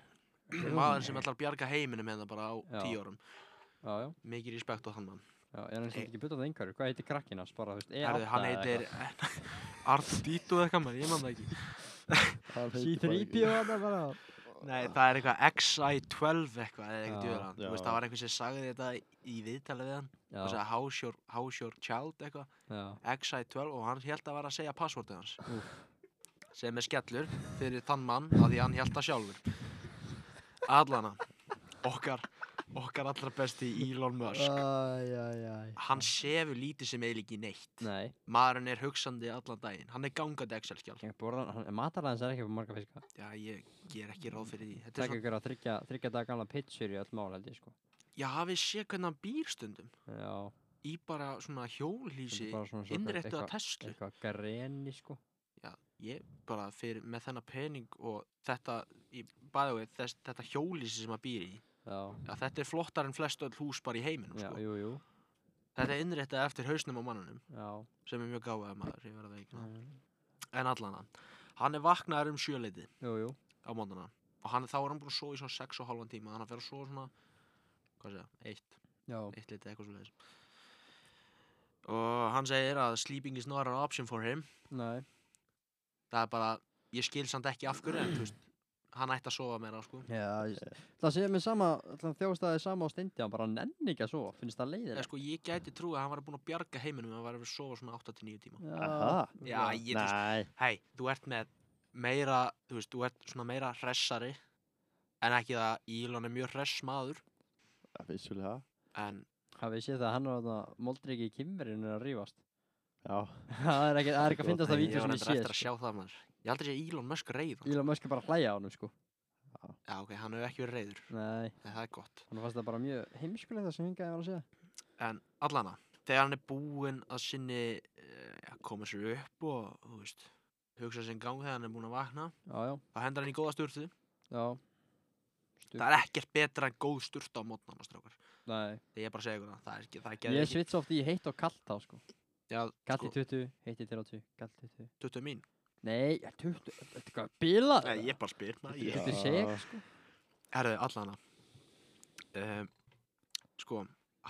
maður sem ætlar að bjarga heiminum hérna bara á
Já.
tíu árum
Já, já,
mikið respekt á þann mann
já, ég er hans
Hey.
ekki byrjað það einhverju Hvað heitir krakkin hans bara, þú veist, E8
Herðu, hann
eða
heitir
eitthvað?
*laughs* Arthur Dito eða eitthvað maður, ég man það ekki
hann heitir bara ekki.
C3P og hann bara
Nei, það er eitthvað XI12 eitthvað eða eitthvað
Já.
duður hann Þú veist,
Já.
það var einhver sem sagði þetta í viðtalið við hann og
Já,
sagði how's your, how's your child eitthvað
já,
XI12 og hann held að vera að segja passvortið hans
Úff.
sem er skellur fyrir þann mann að því hann held það sjálfur Allana okkar, okkar allra besti Elon Musk
Æj, æj, æj
Hann sefur lítið sem eiginlega ekki neitt
Nei,
maðurinn er hugsandi allan daginn hann er gangandi Excel-skjál
ég borða hann, matalæðins er ekki fyrir marga fiska
já, ég, ég er ekki ráð fyrir því þetta er
Takk
svona,
ykkur að þryggja, þryggja daga gamla pitchur í öll mál held ég sko
já, hafið séð hvernig hann býr stundum
Já,
í bara svona
þetta
hjólhýsi
er bara svona svo
innrættu að Tesla
Eitthvað greni sko
já, ég bara fyrir með þennan pening og þetta í bæðu við þess, þetta hjólhýsi sem hann býr í
Já,
já, þetta er flottar en flest öll hús bara í heiminum
já,
sko.
jú, jú,
þetta er innrættað eftir hausnum á mannunum
já
sem er mjög gáðað maður, ég verð að veikna
mm,
en allan hann, hann er vaknaður um sjöleiti
Jú, jú,
á móndana og hann, þá er hann búin að sofa í svona 6 og halvan tíma þannig að fyrir að sofa svona hvað segja, eitt,
já,
eitt litið eitthvað svo leiðis og hann segir að sleeping is not an option for him
nei,
það er bara, ég skil samt ekki af hverju en þú veist, hann ætti að sofa meira sko
Já, ég- það sé mér sama, það þjóstaði sama á steindi, hann bara nenni ekki að sofa, finnst það
eða
leiðilegt.
sko, ég gæti trú að hann var búin að bjarga heiminum ef hann var að sofa svona 8-9 tíma
Aha.
já, ég, þú veist,
Nei,
hei, þú ert með meira, þú veist, þú ert svona meira hressari en ekki það Elon er mjög hress maður
það vissulega
en
Hafið séð það að hann var þarna, moldriki í kimverinu er að rífast. *laughs*
Já,
það er ekki, það er ekki að
Gott
finnast það
dæmi.
vídeo
ég var
sem ég sko.
nefndar
séð.
eftir að sjá það maður ég aldrei sé Elon Musk reyðan
Íla Mösk er bara að hlæja á hann, sko.
Já, ok, hann hefur ekki verið reyður,
Nei,
en það er gott.
hann fannst það bara mjög heimskulegt það sem hingaði var að segja.
En allana, þegar hann er búinn að sinni uh, koma sér upp og, þú veist, hugsa sinn gang þegar hann er búinn að vakna,
Já, já,
þá hendur hann í góða sturtu.
já. Stup.
Það er ekkert betra en góð sturtu á mótnana, strákar.
Nei,
Þegar ég er bara að segja ykkur það, það er ekki, það er ekki.
ég svits oft í heitt og kallt þá, sko.
Já,
Kallt í
sko,
20, heitt í 30, kallt í 20.
tuttu mín.
Nei, ja, 20, þetta er hvað, bilað?
Nei, ég bara spyr, maður.
Þetta
ég-
er
Já.
26, sko.
Herðu, allana. Um, sko,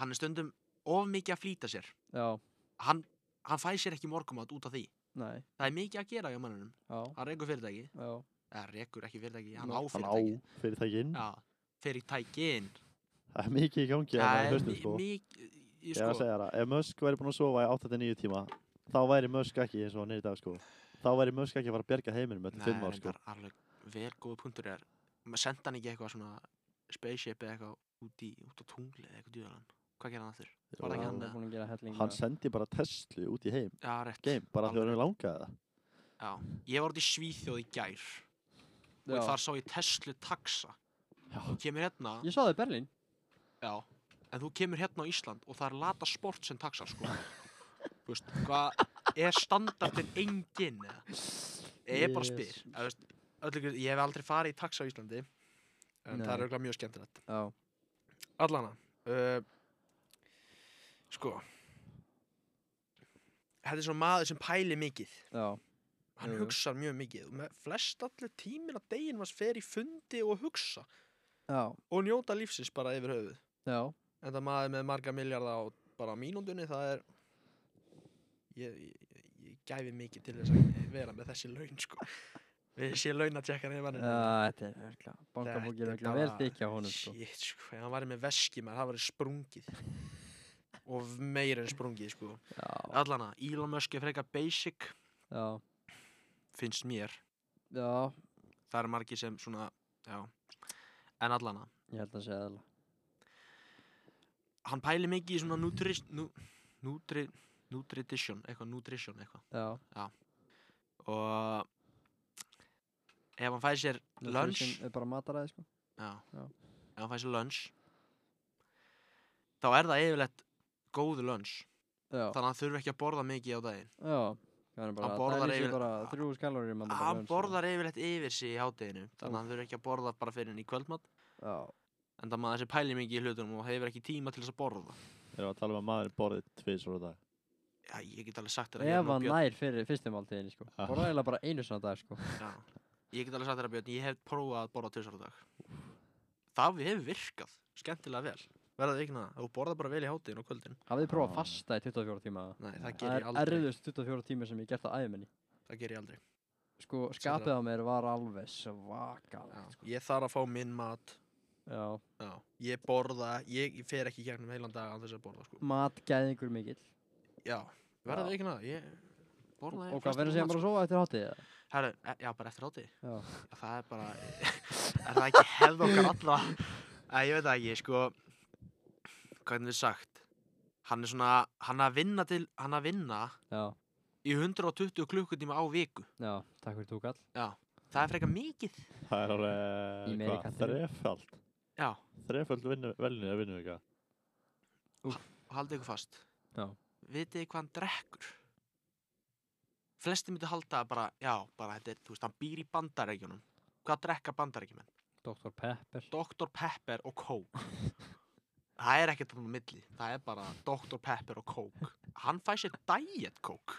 hann er stundum of mikið að flýta sér.
Já,
Hann, hann fæ sér ekki morgumat út af því.
nei,
Það er mikið að gera hjá mannunum.
já,
Hann reykur fyrirtæki.
já,
eða rekur ekki fyrirtæki, hann
Nei,
á
hann á
fyrirtæki
fyrirtækin
Já, fyrirtækin
Það er mikið í gangi
Það
þarna í
er sko-
hausnum, sko.
mikið
Ég er að segja það, ef Musk væri búin að sofa í 8-9 tíma þá væri Musk ekki eins og hann er í dag sko þá væri Musk ekki að fara að bjarga heiminum eftir 5 ár sko
er alveg vel góða punktur er maður senda hann ekki eitthvað svona spaceship eða eitthvað út, í, út á tungli eða eitthvað djúðalann hvað gera hann aftur? Var það
já,
ekki
hann
hérna. hann
er búinn að gera helling
hann
með-
sendi bara Tesla út í heim
Já, rétt
game, bara þegar hann langaði
Já, ég var út í Svíþjóð í gær
Já.
og þar sá ég Tesla taxa
það
þú kemur hérna,
Ég sá það í Berlín
já en þú kemur hérna á Ísland og það er lata sport sem taxar
*laughs*
sko Þú veist, hvað, er standardin engin eða? Ég bara spyr
Jesus.
að, veist, öll ykkur, Ég hef aldrei farið í taxa á Íslandi En
Nei.
það er auðvitað mjög skemmtilegt
Já,
Allana uh, Sko Þetta er svona maður sem pæli mikið
já,
Hann
Jú, jú.
hugsar mjög mikið og með flest allir tímin að degin hans fer í fundi og hugsa
já,
og njóta lífsins bara yfir höfuð
já
En það maður með marga miljardar á bara mínúndunni það er ég, ég, ég gæfi mikið til þess að vera með þessi laun sko Við sé launatjekkan yfir
Já,
hann
þetta er örgla, bankabókir
Mm. Þetta er
örgla vel
bara-
þykja honum sko
Shit, sko, ef hann væri með veski maður, það væri sprungið og meira en sprungið, sko
Já,
Allana, Elon Musk er frekar basic
já,
finnst mér,
já,
það er margir sem svona, já en allana,
ég held að segja það
hann pæli mikið í svona nutri, nu, nutri nutrition, eitthvað, nutrition eitthvað
Já,
og ef hann fæði sér lunch
nutrition er bara mataræði sko
já,
Já.
ef hann fæði sér lunch þá er það yfirleitt góð lunch,
Já,
þannig að hann þurfi ekki að borða mikið á daginn,
já, hann er bara
Hann
að
borðar
dæli sér
yfir-
bara þrjú skalóri
hann borðar yfirleitt yfir sig í hádeginu, þannig að hann þurfi ekki að borða bara fyrir henni í kvöldmatt
Já,
en það maður þessi pæli mikið í hlutunum og hefur ekki tíma til þess að borða
Erum við að tala um að maður borðið tvisvar á dag
Já, ég get alveg sagt þér að ég er
ef
nú
hann
björn
nær fyrir fyrstum áltíðinni sko
Ah.
Borðar eiginlega bara einu svona dag sko
já, Ég get alveg sagt þér að björn, ég hef prófað að borða tvisar á dag Það hefur virkað, skemmtilega vel Verðað ekki það, þú borðar bara vel í hátíðin og kvöldin
Hafið þið prófað að
Já.
fasta í 24 tíma eða?
Nei, Ah. það ger
Það
ég
er
aldrei
erfiðust 24 tíma sem ég gert á æðminni
Það ger ég aldrei
Sko, skapið á mér var alveg svakal
já, Ég þarf að fá minn mat
Já,
já, Ég borða, ég ég fer ekki í gegnum heilan dag án þess að borða sko.
matgæðingur mikill
Já, verðað
Já.
ekki það, ég borða
Og hvað verður sér bara að sofa
sko.
eftir hátíð eða?
Herru, e- já, bara eftir hátíð
Já,
Já, það er bara *laughs* er það ekki hefð okkar allra Æ, ég veit það ekki, sko hvernig er sagt hann er svona, hann er að vinna til hann er að vinna
já,
í 120 klukkutíma á viku
já, takk fyrir túkall
já, það er frekar mikið
Það er
Í
alveg,
meiri
hvað,
kantinum.
þrefald
já,
Þrefald velinu að vinna vika
og haldið ykkur fast
Já.
vitið þið hvað hann drekkur flesti myndi halda að bara, já, bara þetta er, þú veist, hann býr í bandarækjunum hvað drekka bandarækjumenn?
Dr. Pepper
Dr. Pepper og Coke Það er ekkert þannig á milli Það er bara Dr. Pepper og Coke Hann fæ sér Diet Coke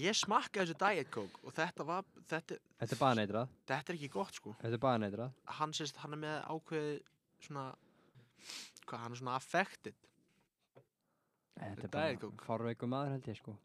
Ég smakkaði þessu Diet Coke og þetta var þetta,
Þetta er baneitrað,
þetta er ekki gott sko
þetta er baneitrað
Hann sést, hann er með ákveði svona hvað, hann er svona affected
Þetta er
Diet
bara
Coke.
farveiku maður held ég sko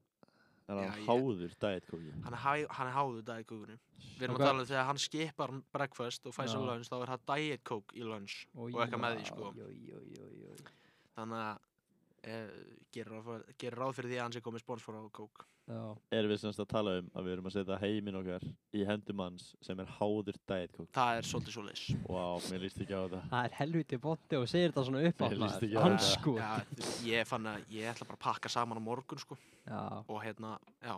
Það
Já,
er
ég-
hann háður diet kóki
Hann er, hæ, hann er háður Diet Coke-unum Við erum
Ok.
að tala um þegar hann skipar breakfast og fæ sér
Já.
lunch þá er hann Diet Coke í lunch Og eitthvað með því, sko.
því
Þannig að eh, gerir ráð fyrir- gerir ráð fyrir því að hann sé komið sponsor á Coke
Já,
Erum við semst að tala um að við erum að setja heiminn okkar í hendum hans sem er háður diet kóki
Það er svolítið svo leys
Vá, mér líst ekki á þetta
það er helviti botti og segir þetta svona upp á
Ég líst
maður
ekki á
Hann
þetta.
sko
Já, þú- ég fann að ég ætla bara að pakka saman á morgun sko
Já,
og hérna, já,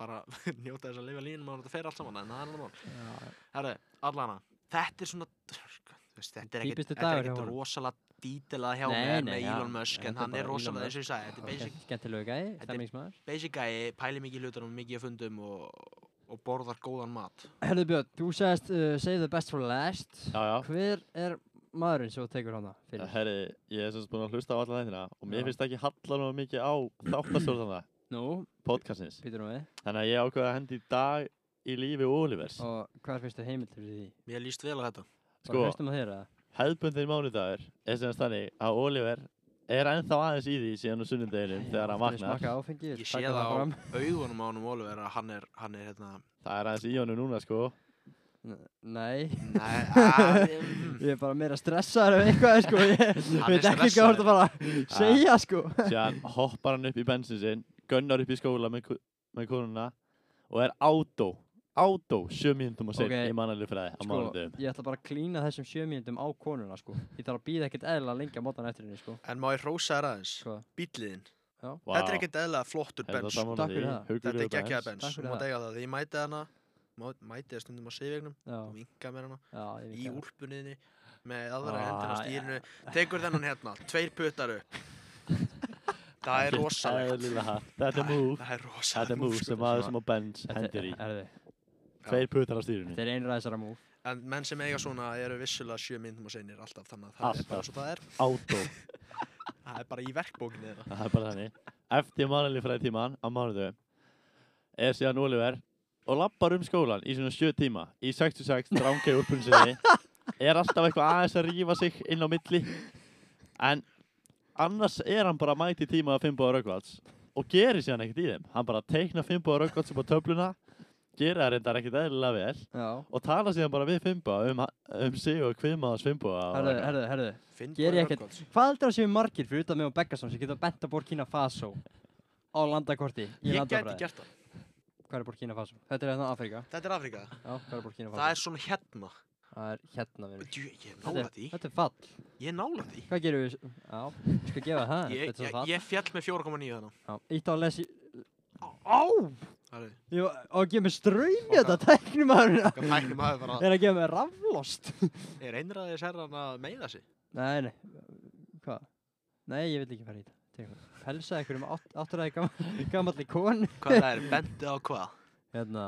fara að *laughs* njóta þess að lifa línum og þetta fer allt saman en það er alveg mál.
já,
Herru, allana, þetta er svona, þú veist, þetta er ekkert,
Típistur
þetta er
dagur hjá
ekkert
honum.
rosalega dítilað hjá
Nei,
mér
nei,
með
já,
Elon Musk
þetta er
en hann
bara
er
Elon Musk.
rosalega, eins og ég sagði, þetta er basic,
Skemmtilegu gæði,
Þetta er-
stemningsmaður
basic gæi, pæli mikið í hlutunum, mikið að fundum og, og borðar góðan mat.
Herðu Björn, þú sagðist uh, Save the best for last
Já, Eh, já
Hver er maðurinn sem þú tekur hana fyrir?
Herri, ég er semst búin að hlusta á alla þættina og mér
Já.
finnst ekki halla nú mikið á þáttastjórnana
Nú,
podcastins
býtur nú við
Þannig að ég ákveða að hendi í dag í lífi Olivers
Og hvað finnst þér heimild fyrir því?
Mér líst vel á þetta.
Bara
Sko,
hlustum á þeirra
hefðbundin mánudagur er semst þannig að Oliver er ennþá aðeins í því síðan á sunnudeginum þegar hann vaknar
Smaka áfengi,
Ég sé
taka
það á
fram.
augunum á honum Oliver að hann er, hann er
*laughs*
hérna,
Það er aðeins í honum núna sko
N- Nei
nei, að, mm,
Ég er bara meira stressaður ef eitthvað sko Ég
Hann
veit
er
ekki hvað þú ert að fara að segja sko
Síðan hoppar hann upp í bensin sinn Gunnar upp í skóla með, ku- með konuna Og er átó Átó, sjö mínútum og sinn
Ok.
okay. í mannalið fræði á
Sko,
mánudegum
ég ætla bara að klína þessum sjö mínútum á konuna sko Ég þarf að býða ekkert eðla lengi á mótan eftir henni sko
en má ég hrósa þér aðeins?
Sko,
bíliðin
Vá,
Þetta er ekkert eðla
er
flottur
það
bens
saman á
Takk
því?
fyrir það.
Þetta er
Huggulegur
geggjaða
Takk
bens.
bens
fyrir
Þú mátt
það.
eiga það Þegar ég mæti hana má- Mæti það stundum á Sifjögnum
já,
og vinka mér hana
já, ég veit
Í
það.
úlpunniðinni Með aðra
Ah,
hendina á
ja.
stýrinu Tekur þennan hérna Tveir puttar upp
*laughs*
Það er
Ekkert
rosalegt
eðlilega hart. Þetta
*laughs*
er múf
Það er rosalegt
Þetta er múf
sko.
sem maður sem á bens hendir í
Þetta er- herðu,
Tveir putar á stýrunni
þetta er einra þessara múf
En menn sem eiga svona eru vissulega sjö myndum og seinir alltaf Þannig að það er
Alltaf.
bara svo það er
Átó
það er bara í verkbókinni þeirra
það er bara þannig eftir mannali fræðtíman á mánuðum er síðan Oliver og lappar um skólan í svona sjö tíma í 66 drangi upphunnsinni er alltaf eitthvað aðeins að rífa sig inn á milli en annars er hann bara mæti tíma að Fimboða Röggvalds og gerir síðan ekkert í þeim hann bara teikna Fimboða Röggvalds upp á töfluna gerir það reyndar ekkert eðlilega vel
Já.
og tala síðan bara við Fimboða um, um sig og kvimaðas Fimboða og
Herðu,
eitthvað.
herðu, herðu.
Finn
Geri
Boga
ekkert.
Rögnvalds.
Hvað heldur það séu margir fyrir utan mig og Beggarsson sem geta bent að Borkina Faso á landakorti í
Ég gæti
landafræði?
gert það
Hvað er Borkina Faso? Þetta er hérna Afrika.
Þetta er Afrika
Já, hvað er Borkina Faso?
Það er svona hérna
Það er hérna við.
Djú, Ég er
Þetta,
nála
er-
því
þetta er fall.
Ég er nála því
Hvað gerum við? Já, ég skal gefa það.
Ég,
þetta er
ég,
svo fall.
ég fjall með 4,9 þannig
Já, Ítt á að lesi.
Á Það er
Ég var á að gefa mig ströym í
Ok.
þetta teknumæðurina.
Það tæknum að það bara
Er að gefa mig raflost.
Er einræðis herran að meiða sig?
nei, nei. Hvað? Nei, ég vil ekki fara í þetta. Tegum. Pelsa ykkur um áttræði gamalli gamall konu.
Hvað það er? Bendi á hvað?
Hérna.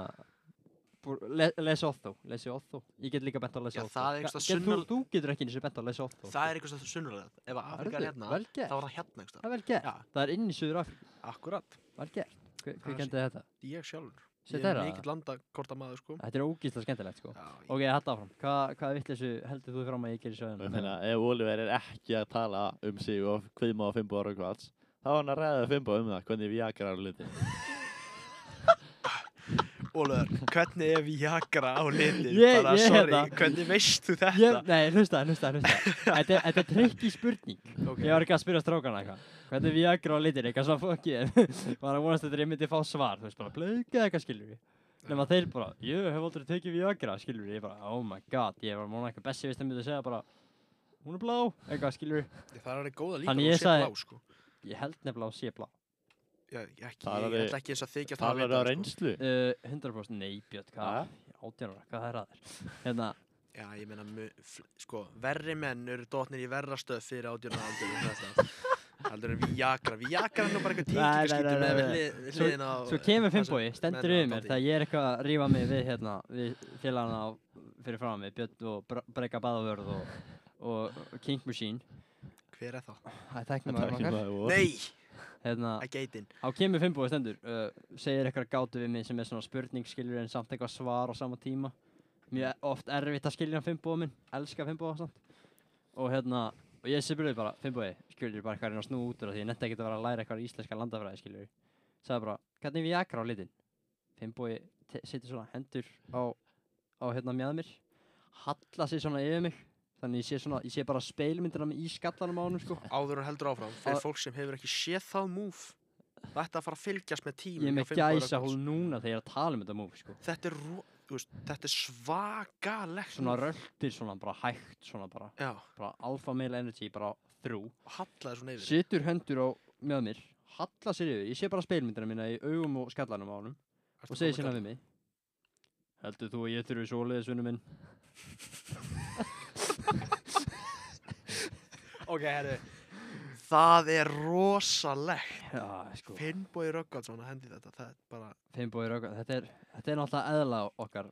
búr- Le, lesi Otto, lesi Otto Ég get líka bent á lesi
Já,
Otto
það er
Ga-
einhversta
get-
sunnan-
þú, þú getur ekki eins og bent á lesi Otto
Það er eitthvað sunnulegt Ef að Afrika er
Hörðu,
hérna
vel gert.
þá er það hérna einhverstað
Það er vel gert.
Já.
Það er inn í Suður Afríku.
Akkurat
Vel gert. Hver,
Það
hver
er
kendið þetta?
Ég sjálfur
Sitt
Ég er
þeirra?
mikill landakorta maður sko
Þetta er ógísla skemmtilegt, sko.
Já, ég-
Ok, hætt áfram. Hva, hvaða vittleysu heldur þú fram að ég gerir
Og ég
sjöðan?
meina, ef Oliver er ekki að tala um sig og kvíma á Fimbo og Röggvalds þá er hann að ræða Fimbo um það, hvernig við jakar á liti
Ólöður, hvernig er Viagra á litin?
Ég-
bara,
ég
sorry,
hérna.
hvernig veist þú þetta?
Ég, nei, hlusta, hlusta, hlusta. Þetta er- þetta er trikk í spurning.
Ok.
Ég var ekki að spyrja strákana eitthvað. Hvernig við agra á litin, eitthvað svona *laughs* fokkið. Var að vonast þetta ég myndi fá svar, þú veist, bara blöðgið eitthvað, skilur við. Nefn þeir bara, ég hef aldrei tekið við agra, skilur við. Ég bara, oh my god, ég var að vona eitthvað bessi, veist, það myndi segja bara, hún er blá, eitthvað, skilur
Það er alveg góða líka
Þannig
að
ég
þú sé
sagði-
blá, sko.
Ég held nefnilega á sé blá.
Já, ég, ekki,
Það er
ég
alveg-
ætla ekki eins að þykja það að
Talar
vita,
á
sko.
reynslu
Uh, 100% nei, Björn, hvað? átján ára, hvað er að þér? Hérna,
Já, ég meina, mu- fl- sko, verri menn eru dotnir í verra stöð fyrir átjörna aldur og þetta. Aldur en Viagra. Viagra er nú bara eitthvað
Nei, nei,
tíkikaskýtum
nei,
með
nei,
hlið- við
Svo-
hliðin á...
svo kemur
það sem
Finnbói, stendur
menn
yfir
hafa
mér
dáð í.
þegar ég er eitthvað að rífa mig við hérna, við félagana á- fyrir fram mig, Björn og Bre- Breka Baðavörð og, og King Machine
Hver er það?
það er tæknum aður okkar
Nei,
hérna,
að geitin.
á kemur Finnbói stendur uh, segir eitthvað gátu við mig sem er svona spurning skilur en samt eitthvað svar á sama tíma mjög oft erfitt að skilja hann Finnbói minn elska Finnbói samt og hérna, og ég sé bara Finnbói, skilur bara eitthvað að reyna að snú út úr af því ég netta ekki að vera að læra eitthvað íslenska landafræði skilur sagði bara, hvernig við jakra á litin Finnbói te- setur svona hendur á, á hérna mjög mér halla sér svona yfir mig þannig ég sé, svona, ég sé bara speilmyndina í skallanum á honum sko
Áður en heldur áfram,
Á-
fyrir fólk sem hefur ekki séð það múf, þetta að fara að fylgjast með
ég
tímum.
er
hjá
með
Finnboga
gæsa
Rögnvalds.
hól núna þegar ég er að tala um þetta múf sko.
Þetta er, ro- þú veist, þetta er svakalegt.
svona
move.
röltir svona bara hægt svona bara,
Já,
bara alfa male energy bara þrú
og hallaði svona yfir.
situr hendur á með mér halla sér yfir, ég sé bara speilmyndina mína í augum og skallanum á honum
Ertu
og segir
kominn
sína við mig heldur þú að ég þurfi svoleiðis vinnu minn
Ok, herru Það er rosalegt
já, sko,
Finnbói Röggvaldsson að hendi þetta Það er bara,
feimbói röggan þetta er, þetta er náttúrulega eðla okkar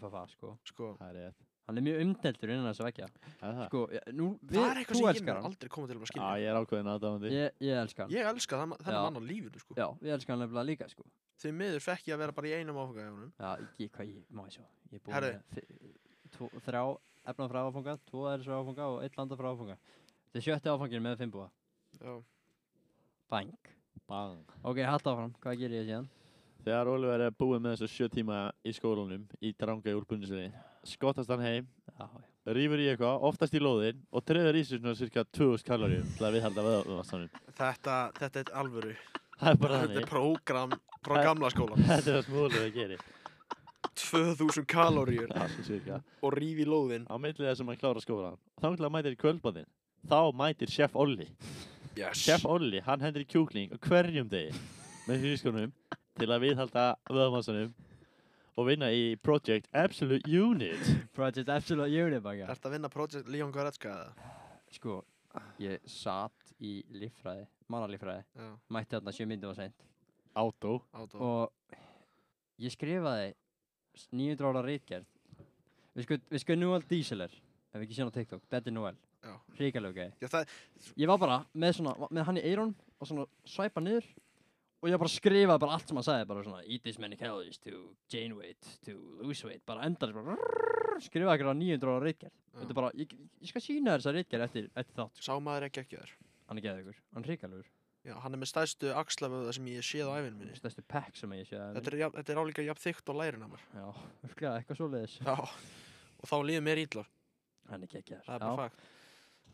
FFA sko,
sko
Það er rétt
hann er mjög umdeltur innan þess að vekja
Það er það.
sko, ég- nú, við,
Það er eitthvað
þú
sem ég
elskar
mun
hann
aldrei koma til að
Já,
skilja
ég er ákveðin aðdáðandi
ég, ég elskar hann
Ég elska þann-
Já.
þennan mann á lífinu, sko
já, ég elskar hann nefnilega líka sko
Því miður fekk ég að vera bara í einum áfanga hjá honum
Já, ekki hvað ég, má ég sjá Ég er búinn
Herðu.
með fi- tvo- þrjá efna frá áfanga, tvo eðlis frá áfanga og eitt landa frá áfanga Þetta er sjötti áfangin með fimm búa
Já,
Bang
Bang
Ok, hatt áfram, hvað gerir ég síðan?
Þegar Oliver er búið með þessu sjö tíma í skólanum í dranga í úlpunnisinni skottast hann heim,
Já, já.
rýfur í eitthvað, oftast í lóðin og treður í sig svona cirka 2000 kaloríum til að viðhalda vöðvastanum
þetta, þetta er alvöru
Það er bara
Þetta er
þannig
prógram frá
Það-
gamla skólan
Þetta er það sem Oliver gerir
2000 kaloríur
Já, svona cirka
og rífi lóðin
á millið þessum að klára skólan og þá ætla að mætir í kvöldbáðin þá mætir chef Olli
Yes *laughs*
chef Olli, hann hendur í kjúkling og hverjum degi með hrískunum til að viðhalda vöðumassanum og vinna í Project Absolute Unit
Project Absolute Unibanga
Ertu að vinna Project Leon Goretzka eða?
Sko, ég satt í líffræði, mannalíffræði
Já,
Mætti þarna sjö myndum og seint
Auto
átó
Og ég skrifaði s- 900 ára rítgerð Við sko, við sko nú all díseler ef við ekki séum á TikTok, Dead in Noel
Já.
hrikalega gæði
Já, það,
ég var bara með, svona, með hann í eyrun og svona svæpa niður og ég bara skrifaði bara allt sem hann sagði bara svona eat this many calories to gain weight to lose weight bara endaði bara rrrr, skrifaði ekki á 900 ára reitgerð þetta er bara, ég, ég skal sína þess að reitgerð eftir, eftir þátt sko.
sá maður ekki ekki þér
hann er geðugur, hann er hrikalegur
Já, hann er með stærstu axlaföða sem ég hef séð á æfinu minni
stærstu pack sem ég sé að
Þetta er, jafn- þetta er álíka jafn þykkt á lærin á mér
já, *laughs* örglega eitthvað svo leiðis
Já, og þá líður mér ítla
hann er geggjaður
Það er bara
Já.
fakt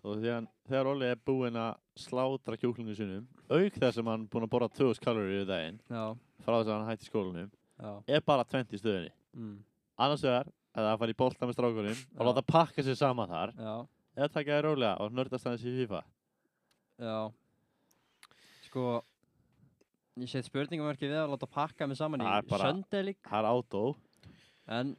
og þegar, þegar Olli er búinn að slátra kjúklingu sinum auk þess að hann búinn að borða 2000 kaloríu í daginn
já,
frá þess að hann hætti skólanum
já,
er bara 20 í stöðinni
mm,
annars vegar að það fara í bolta með strákunum og
Já.
láta pakka sér sama þar
já,
eða taka þér rólega og nördast aðeins í FIFA
já sko ég set spurningamörki við að láta pakka mig saman
Það er
í
bara-
söndelík
það er átó
en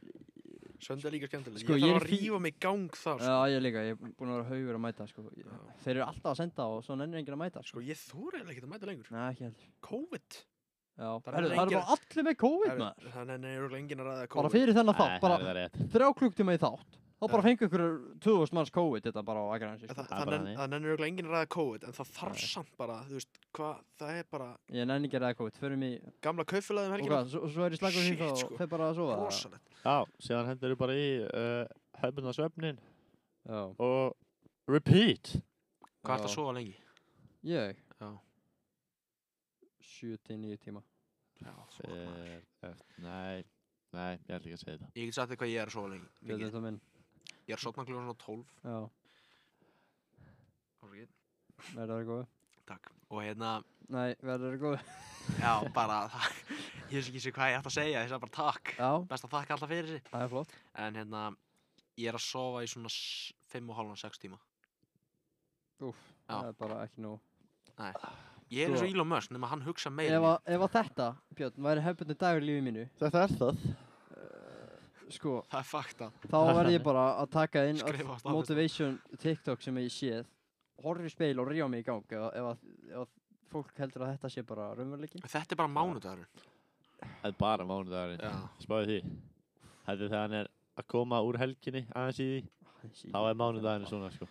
Sönd er líka skemmtileg
Sko,
Ég
ég
þarf
er
að
fí-
rífa mig í gang þar sko.
Já, ég líka, ég er búin að vera haugur að mæta sko. Ég-
Já.
Þeir eru alltaf að senda og svo nennir enginn að mæta sko.
sko, ég þúr eða ekki að mæta lengur
Nei, ekki heldur
COVID
Já,
Það
það eru það
er
eru
enginn-
bara allir með COVID
Það
maður
er- Þannig er örugglega enginn að ræða COVID
Bara fyrir þennan
Nei,
þátt,
það er
bara
það rétt
þrjá klukktíma í þátt Þá bara
Já.
fengu ykkur 2000 manns COVID þetta bara á aðgræðan
En
sko.
Það,
Það er
það,
bara
nenn,
þannig.
það nennir auðvitað enginn að ræða COVID en það þarf
Nei.
samt bara, þú veist, hvað, það er bara
Ég nenni ekki að ræða COVID, förum í
gamla kaufélagum
Og
helgina,
hvað, svo, svo er ég slagur
Shit,
því þá
sko.
og fer bara að sofa eða?
rosalegt
Já, síðan hendur þú bara í uh, hefðbundna svefnin
Já,
og repeat.
Hvað ert að
Já.
sofa lengi?
ég
Já.
7-9 tíma
Já, fokk maður.
Fer eft- Eh, Nei, nei, ég ætla ekki að segja þetta.
Ég get sagt þér hvað ég er að sofa lengi
Þetta er
mikið.
það minn
Ég er að sofna klukkan svona 12
Já,
afsakið,
verður það góð
Takk Og hérna,
Nei, verður það góð
já, bara *laughs* það, Ég veist ekki sé hvað ég ætti að segja, ég sagði bara takk
Já,
Best að þakka alltaf fyrir sig
það er flott
En hérna, ég er að sofa í svona 5,5-6 tíma
Úff,
Já.
það er bara ekki nóg
Ég er eins
Sko-
og Elon Musk, nema hann hugsa meira
ef,
en ég.
að, ef að þetta, Björn, væri hefbundin dagur í lífi mínu,
Þetta er það.
sko,
Það er fakta *laughs*
þá verð ég bara að taka inn öll
Skrifa á staðfesta.
motivation TikTok sem ég séð, horfir í speil og ríða mig í gang ef, að- ef, að- ef að fólk heldur að þetta sé bara raunveruleikin.
Þetta er bara mánudagurinn
Þetta er bara mánudagurinn.
Já
Spáðu því. Þetta er þegar hann er að koma úr helginni aðeins í því. Þá er mánudagurinn svona, sko.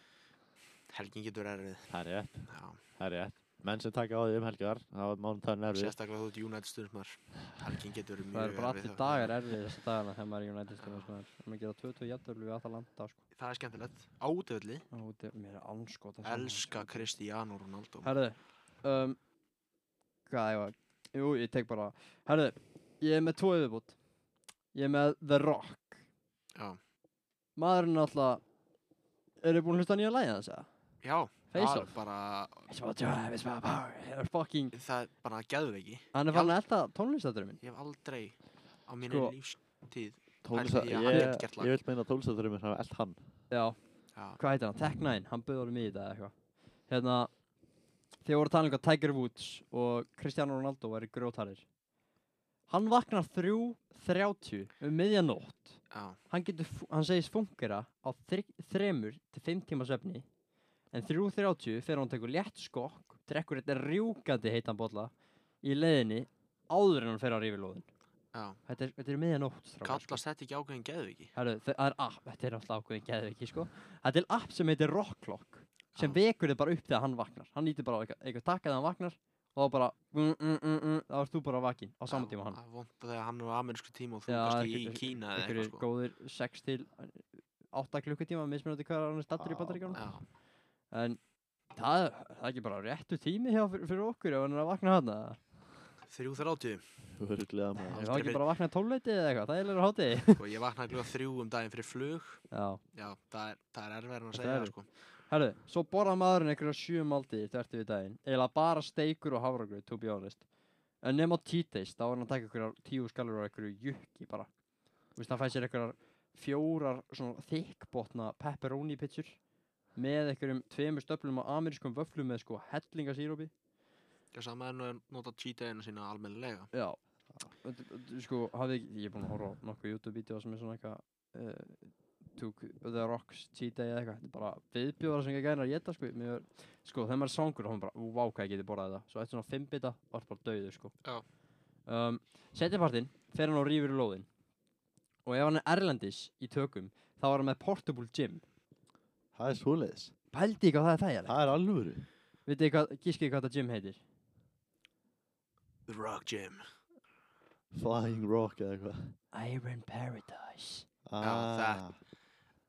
Helgin getur erfið
Það er rétt,
Já
það er rétt. Menn sem taka á því um helgar, þá er mánudagurinn erfið.
Sérstaklega þú ert United stundumar Helgin getur verið
Það
mjög
eru bara
erfið
allir
þá.
dagar erfið þessa dagana þegar maður er í United stundum, sko. Það er maður að gera 22 jættölu við Atalanta, sko.
Það er skemmtilegt Átöðli
Á, þetta er mér er anskota.
Elska Cristiano Ronaldo
Herðu, um, hvað ég var, jú, ég tek bara, herðu, ég er með tvo yfirbútt, ég er með The Rock.
Já.
Maðurinn er alltaf, eru búin að hlusta á nýja lægið hans eða?
Já
Face
það er
Off.
bara
It's about drive, it's about power, it's fucking,
Það er bara geðveiki
hann er
Já.
farin að elda tónlistaturum minn.
Ég hef aldrei Á mínu
Sko.
lífstíð
Tólsa,
Pældi í
ég,
að hann geti
ég,
gert lag.
vil meina að tólsaðurumir hafa allt hann.
Já,
Já
hvað heitir hann, Tech Nine, hann bauð honum í þetta eða eitthvað. Hérna, þegar voru að tala um eitthvað Tiger Woods og Cristiano Ronaldo væri grjótarir. Hann vaknar 3.30 um miðjanótt.
Já
hann, getur, fu- hann segist fungera á þri, þremur til fimm tíma svefni en 3.30 þegar hann tekur létt skokk drekkur þetta rjúkandi heitan bolla í leiðinni áður en hann fer á rífilóðin
Já
þetta er, þetta er miðjanótt strákar, sko.
Kallast þetta ekki ákveðin geðveiki
Herru, þe- það er app, þetta er alltaf ákveðin geðviki sko. þetta er app sem heitir Rock Clock sem
Já.
vekur þið bara upp þegar hann vaknar hann nýtir bara á eitthvað, eitthvað takka þegar hann vaknar og þá bara mm, mm, mm, mm, þá ert þú bara vakinn á sama
Já,
tíma og hann
Það er vont þegar hann er á amerísku tíma og þú
Já,
kannski í
einhver-
Kína eða
ykkur er
eitthvað sko
góðir 6 til 8 klukkutíma mismunandi hvað hann er stattur í
Já,
bandaríkjónum
Já
en það, það er ekki bara réttu tími hjá fyrir, fyrir okkur ef hann er að vakna hana *laughs*
3.30
Þú verður gleðað með
ef
það.
hann
fyrir-
ekki bara að vakna tólleiti eða eitthvað það er leira hátti
*laughs* og ég vaknaði glúða þrjú um daginn fyrir flug
já
Já, það er, það er erfið en að
Þetta
segja
er
það
erfitt.
sko
herru svo borða maðurinn einhverja sjö máltíðir þvert við daginn eiginlega bara steikur og hafragröð to be honest en nema cheat days þá er hann að taka einhverjar tíu skallur og einhverju jukki bara þú veist hann fæ sér einhverjar fjórar svona þykkbotna pepperoni pitsur með einhverjum tveimur stöflum á amerískum vöflum með sko hellingasírópi
Já, sama er nú að nota cheat dayina sína almennilega.
Já Þetta- þetta- Sko, hafði ekki, ég er búinn að horfa á nokkuð YouTube-vídeó sem er svona eitthvað uh, Took the Rocks cheat day eða eitthvað Þetta er bara viðbjóðar sem ekki gæna að geta sko mér, Sko, þegar maður er svangur þá er maður bara, vá hvað ég geti borðað þetta Svo eftir svona fimm bita var bara dauður sko
Já.
um, Setjapartinn fer hann og rífur í lóðin Og ef hann er erlendis í tökum þá er hann með portable gym
það er svoleiðis
Pældi ekki hvað það er þægilegt.
það er alvöru
Vitið þið hvað, gískið hvað það gym heitir?
The Rock Gym
Flying Rock eða eitthvað
Iron Paradise.
ah,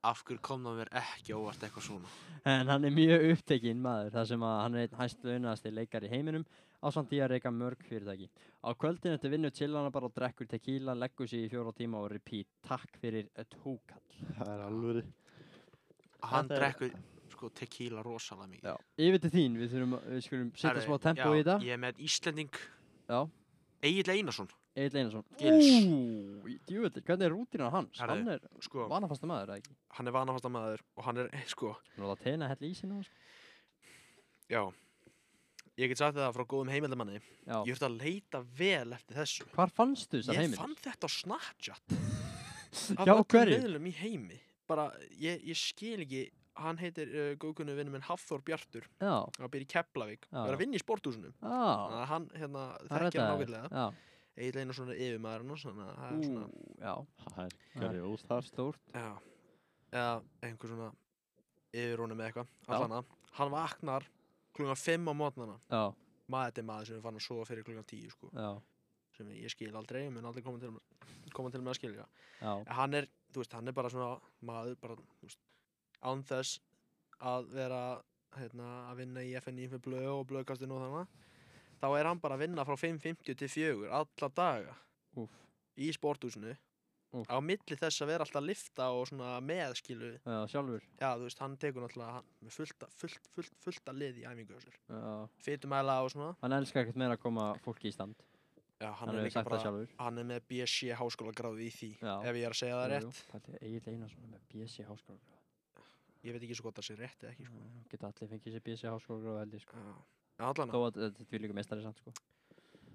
Af hverju kom það mér ekki óvart eitthvað svona
En hann er mjög upptekinn maður þar sem að hann er einn hæst launasti leikar í heiminum á samt því að reyka mörg fyrirtæki. Á kvöldin eftir vinnu chill hann bara og drekkur tequila, leggur sig í fjóra tíma og repeat. Takk fyrir eh, tókall.
Ah, það er alvöru
Hann
Þetta er-
drekkur sko tequila rosalega mikið
Yfir til þín, við, þurfum, að- við skulum setja
Herri,
smá tempo í
já,
þetta.
Ég er með Íslending
Já.
Egil Einarsson
Egil Einarsson.
Gils.
Ú, djúvöldir, hvernig er rútínan hans?
Herri.
Hann er
Sko,
vanafasta maður, eða ekki?
hann er vanafasta maður og hann er, sko,
Nú er það teina hell í sinu. Sko.
já Ég get sagt það frá góðum heimildamanni
Já.
Ég þurfti að leita vel eftir þessu
Hvar fannstu þessar
Ég
heiminn?
fann þetta á Snapchat
*laughs*
Af
Já,
öllum
hverjum?
miðlum í heimi Bara, ég, ég skil ekki Hann heitir uh, góðkunnu vinnum minn Hafþór Bjartur
Já,
Hann byrja í Keflavík
Já.
og er að vinna í sporthúsinu Þannig
já.
að hann, hérna,
Það
þekkir hann
reddaði þér.
ágætlega
Já.
Egil Einarsson er yfirmaður hann Svona, það er
Ú,
svona,
já,
það er
Það er-
grjóð
það er stórt
já Eða einhver svona Yfir honum eða
Já.
eitthvað Allana, hann vaknar klunga 5 á mótnana
Já,
Maður þetta er maður sem er fann að sofa fyrir klunga 10 sko,
já,
sem ég skil aldrei, ég mun aldrei koma til, koma til með að skilja
já,
En hann er, þú veist, hann er bara svona maður, bara, þú veist, án þess að vera, hérna, að vinna í FNI fyrir blöð og blöðkastinu og þannig, þá er hann bara að vinna frá 5.50 til 4 alla daga
úf
í sporthúsinu
Úff.
á milli þess að vera alltaf að lifta og svona meðskilu,
Já, sjálfur
já, þú veist, hann tekur náttúrulega hann, með fullt, fullt, fullt, fullt að liði í æfingu á sér,
já.
fytumæla og svona,
Hann elskar ekkert meira að koma fólki í stand
já, hann,
Hann
er
hefur
líka
sagt það
bara,
sjálfur
hann er með BSC háskóla gráði í því,
Já.
ef ég er að segja það rétt,
Egil Einarsson er með BSc háskóla
ég veit ekki svo gott að segja rétt eða ekki, sko.
Geta allir fengið sér BSc háskóla og heldur sko.
Já, En allan
Þó að þetta er líka meistari samt sko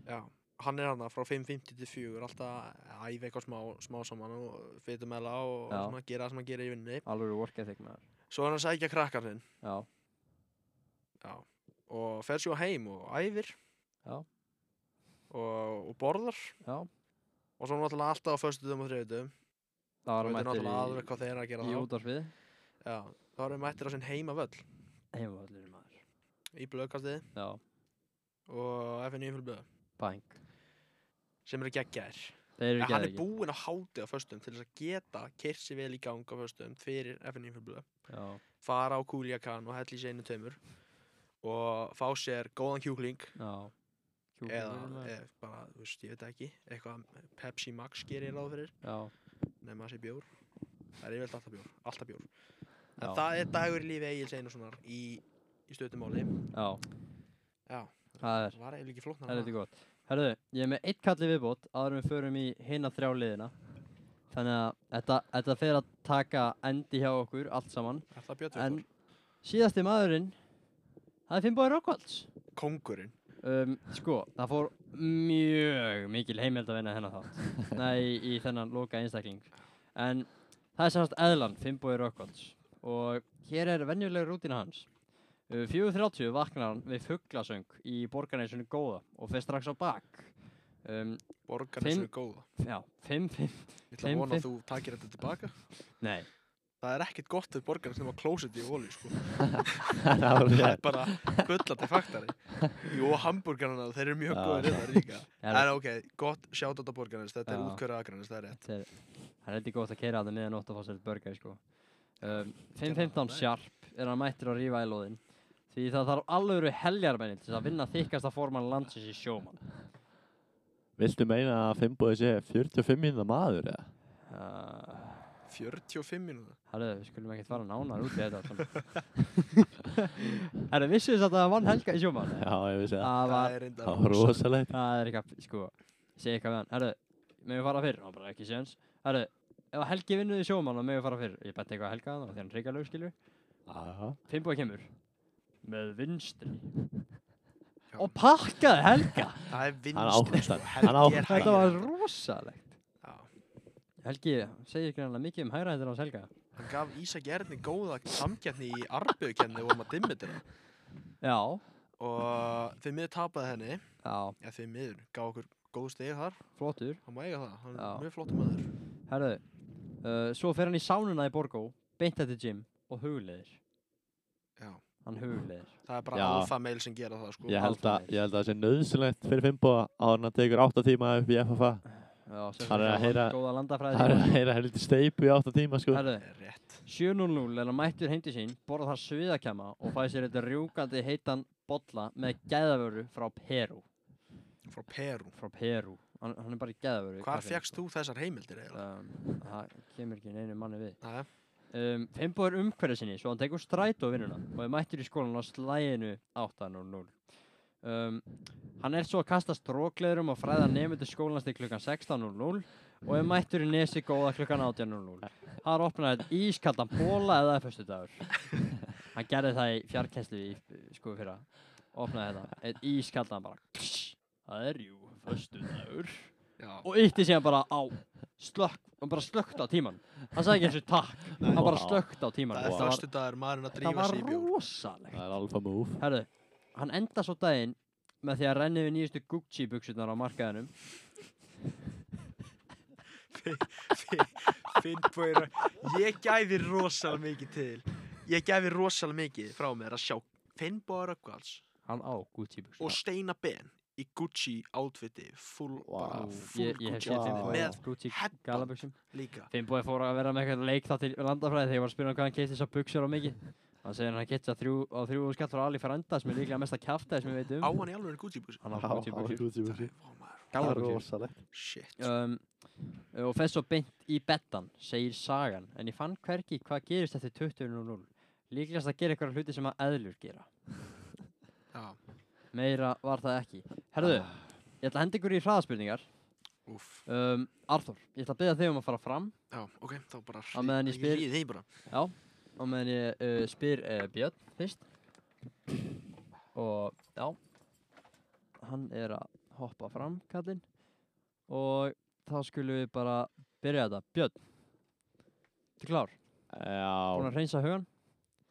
Já, hann er hann frá 5.50 til 4 alltaf að æfa eitthvað smá, smá saman og fytum meðla og
Já.
svona, gera það sem hann gerir í vinninni
Alveg work ethic maður
Svo er hann að sækja krakkan sinn
Já,
og fer svo heim og æfir
Já.
og, og borðar
já
og svo náttúrulega alltaf á föstudum og þriðutum
Það var
og
hann
þetta er náttúrulega
mættur
alveg hvað þeir eru að
í, í
gera þá
útvarfið
Já, þá erum mættir á sinn heimavöll
Heimavallurinn maður
í blöðkastið
Já,
og FNU fylgblöð
bang
sem eru geggjær
Þeir eru
En hann er
geðveikir.
búinn að háti á föstum til þess að geta kersi vel í gang á föstum fyrir FNU fylgblöð
Já,
fara á kúljakan og hella í sig einu tveimur og fá sér góðan kjúkling
já Kjúklingurinn,
eða
maður.
eð, bara, þú veist, ég veit það ekki eitthvað Pepsi Max gerir ráð fyrir
Já,
nema þessi bjór það er yfirlega alltaf bjór, alltaf bjór en
Já.
það er dagur í lífi Egil Einarssonar í, í stötumáli
já
já,
Það er
var eiginlega ekki flóknar
Það er þetta gott. Herðu, ég er með eitt kalli viðbót áður en við förum í hinna þrjá liðina. Þannig að þetta, þetta fer að taka endi hjá okkur allt saman.
er það bjór
En síðasti maðurinn, það er Finnbói Rokkvalds.
kongurinn
Um, sko, það fór mjög mikil heimild að vinna hennar þátt. *laughs* Nei, í þennan loka einstakling. En það er semast eðlan, Finnbói Rokkvalds. Og hér er venjulega rútina hans. Uh, 4.30 vaknar hann við fugglasöng í borgarneinsinu góða og fer strax á bak. Um,
borgarinn sem
Fimm-
er góða
já, 5.5.
ég
fimm-
ætla að vona
fimm-
að þú takir þetta tilbaka
Nei,
það er ekkert gott þegar borgarinn sem var klósett í óli sko.
það var
það
rétt
er bara bullandi faktari jú, hamburgarna, þeir eru mjög
Já.
góðir í það
*laughs*
líka
það
En
er,
ok, gott sjátátt á borgarnes, þetta er
Já.
útkverða aðgrannis, það er rétt.
það er, það er eitthvað gott að keira að það meðan 8 að fá sér börgar, sko. Um, 5.15 sjarp er hann mættur að rífa í loðin. Því það þarf alvöru heljarmennin til þess að vinna þykasta forman landsins í sjóman.
viltu meina að Fimboði sé 45 minna maður eða
Uh,
45 mínúta.
Herru, við skulum ekkert fara nánar út í þetta allt saman. Herru, vissu þess að það vann helga í sjóman?
já ég vissi það
Það var
er reynda
það var rosalegt
Það er eitthvað, sko, segja eitthvað við hann Herru, megum við fara fyrr? Hann bara ekki séns Herru, ef að Helgi vinnuði sjómann og megum við fara fyrr Ég benti eitthvað að Helga þannig að hann reykja lög skilur
Já.
Fimboi kemur Með vinstri
Já.
Og pakkaði
*laughs*
Helga
Það er
Hann
vinstri,
ákvæmst
Helgi
hann
er
ákvæmst
Þetta
hægri
var
hendur.
rosalegt
Já.
Helgi segir greinlega mikið um hægra hendur hans Helga
Hann gaf Ísak Erni góða samgjarni í arbegukenni og maður dimmit hérna.
Já,
Og þau miður tapaði henni,
já,
eða þau miður, gaf okkur góð stig þar,
flottur
hann má eiga það, hann
Já.
er mjög flottur maður.
Herru, uh, svo fer hann í sánuna í Borgó Beint eftir gym og hugleðir
Já.
hann hugleðir
Það er bara
Já.
alfa meil sem gera það sko
Ég held að,
Aldrei.
ég held að það sé nöðsynlegt fyrir Fimboa á hann að tekur 8 tíma upp í FFA.
Já, sem
Hann er að heyra-
góða landafræði
Það er að heyra heldur steipu í 8 tíma sko.
Herðu,
Það er Rétt
7.00 er hann mættur heimti sín, borða þar sviðakjama og fæði sér þetta rjúkandi heitan bolla með gæðavöru frá Perú.
Frá Peru
Frá Perú. Hann, hann er bara í gæðavöru.
Hvar fegst þú þessar heimildir eiginlega?
Um, það kemur ekki neinu manni við.
Jæja.
Um, Fimbo er umhverfið sinni, svo hann tekur strætó vinnuna og er mættur í skólan á slæginu 8.00. Um, hann er svo að kasta strókleðurum og fræða nefndu skólans til klukkan 16.00 og er mættur í nesi góða klukkan 18.00. Hann opnaði eitt ískaldan bóla eða fyrstu dagur. Hann gerði það í fjarkenslu í sko fyrra. Opnaði þetta. Eitt ískaldan bara. Það er jú, fyrstu dagur
Já
og ytti síðan bara á slökk, hann bara slökkt á tíman hann sagði ekki eins og takk, hann bara
Vá.
slökkt á tíman
Það er
var,
þörstu dagur maðurinn að
þetta
drífa
var
sig í bjór
rosalegt
Það er alfa move.
herru, hann enda svo daginn með því að renni við nýjustu Gucci buksunar á markaðinum
Finnbóir Ég gæfi rosalega mikið til Ég gæfi rosalega mikið frá mér að sjá Finnbóir Öggvals
hann á Gucci
og
buksunar
Steina Ben í Gucci outfiti full, bara
Vá.
full
ég, ég hef séð Finnboga með
Gucci.
Gucci outfiti með
Gucci
headband.
galabuksum
líka
Finnbogi fór að vera með eitthvað leik þá til landafræði þegar ég var að spyrja hann hvað hann keitt þessar buksur á mikið hann segir hann að keitt þessar þrjú á þrjú skall frá Ali Ferranda sem er líklega mesta kjaftaði sem ég veit
á
um
hann í alveg Gucci buxur
hann á Gucci buksur,
Vá, maður,
galabuksur
rosalegt.
shit
um, og fer svo beint í bettan segir sagan, en ég fann hvergi hvað gerist eftir 20.00 líklegast að gera eitthvað hluti sem að eðlur gera
Já,
meira var það ekki herðu, ég ætla að henda ykkur í hraðaspurningar
úff
um, Arthur, ég ætla að byrja þig um að fara fram
Já, ok, þá bara
Á meðan ég spyr-
Ég rýði bara
já, og meðan ég uh, spyr uh, Björn fyrst og já hann er að hoppa fram kallinn og þá skulum við bara byrja þetta Björn, þú klár? Búin
Já,
að reynsa hugan?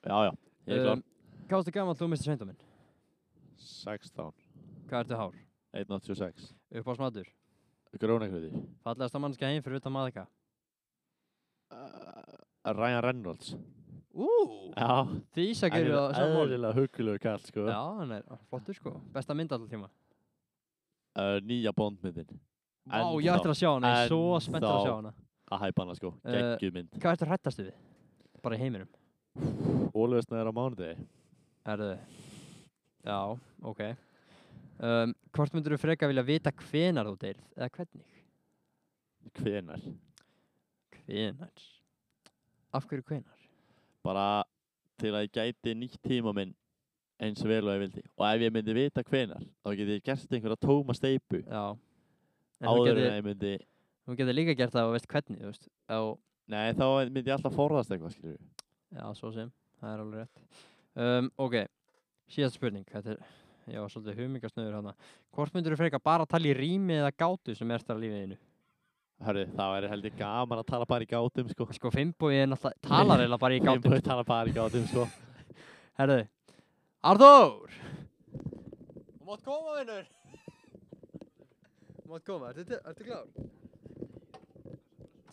já, já. Ég er klár.
Hvað varstu gamall þú mistir sveindóminn?
16,
Hvað ertu hár?
186.
Upp á smadur?
Grónakviti.
Fallegasta mannska heim fyrir utan maðika?
Ryan Reynolds.
Ú!
Eh, Já.
Því Ísak eru á
Hann er
saman
eðlilega hugulegu kall sko.
Já, hann er flottur sko. Besta mynd alltaf tíma.
Uh, nýja bondmyndin.
Vá,
Ennþá.
ég ættir að sjá hana. Ég er svo
Ennþá.
spenntur að sjá hana.
Að hæpa hana sko.
Eh,
Geggjuð mynd.
Hvað ertu hrættastu við? Bara í heiminum.
Ólefsnaður á mánudegi.
Erðu? Já, ok. Um, hvort myndur þú freka vilja vita hvenar þú deyrð? Eða hvernig?
Hvenar?
Hvenar? Af hverju hvenar?
Bara til að ég gæti nýtt tíma minn eins vel og ég vildi. Og ef ég myndi vita hvenar, þá geti ég gert einhverja tóma steipu
Já. En þú
áður en
getur-
ég myndi...
þú getur líka gert það og veist hvernig, þú veist. Á,
Nei, þá myndi ég alltaf forðast eitthvað, skilur við.
Já, svo sem, það er alveg rétt um, Ok, síðast spurning Þetta er, já, svolítið humingasnöður hana Hvort myndur þú freka bara að tala í rými eða gátu sem ert að lífiðinu?
Hörru, þá er held ég gaman að tala bara í gátum, sko.
Sko, Fimboi er náttúrulega, talar eiginlega bara í
Ég
gátu
búið að tala bara í gátum, sko.
Herðu, Arþór Þú mátt koma, vinnur Þú mátt koma, ertu, til- ertu klár?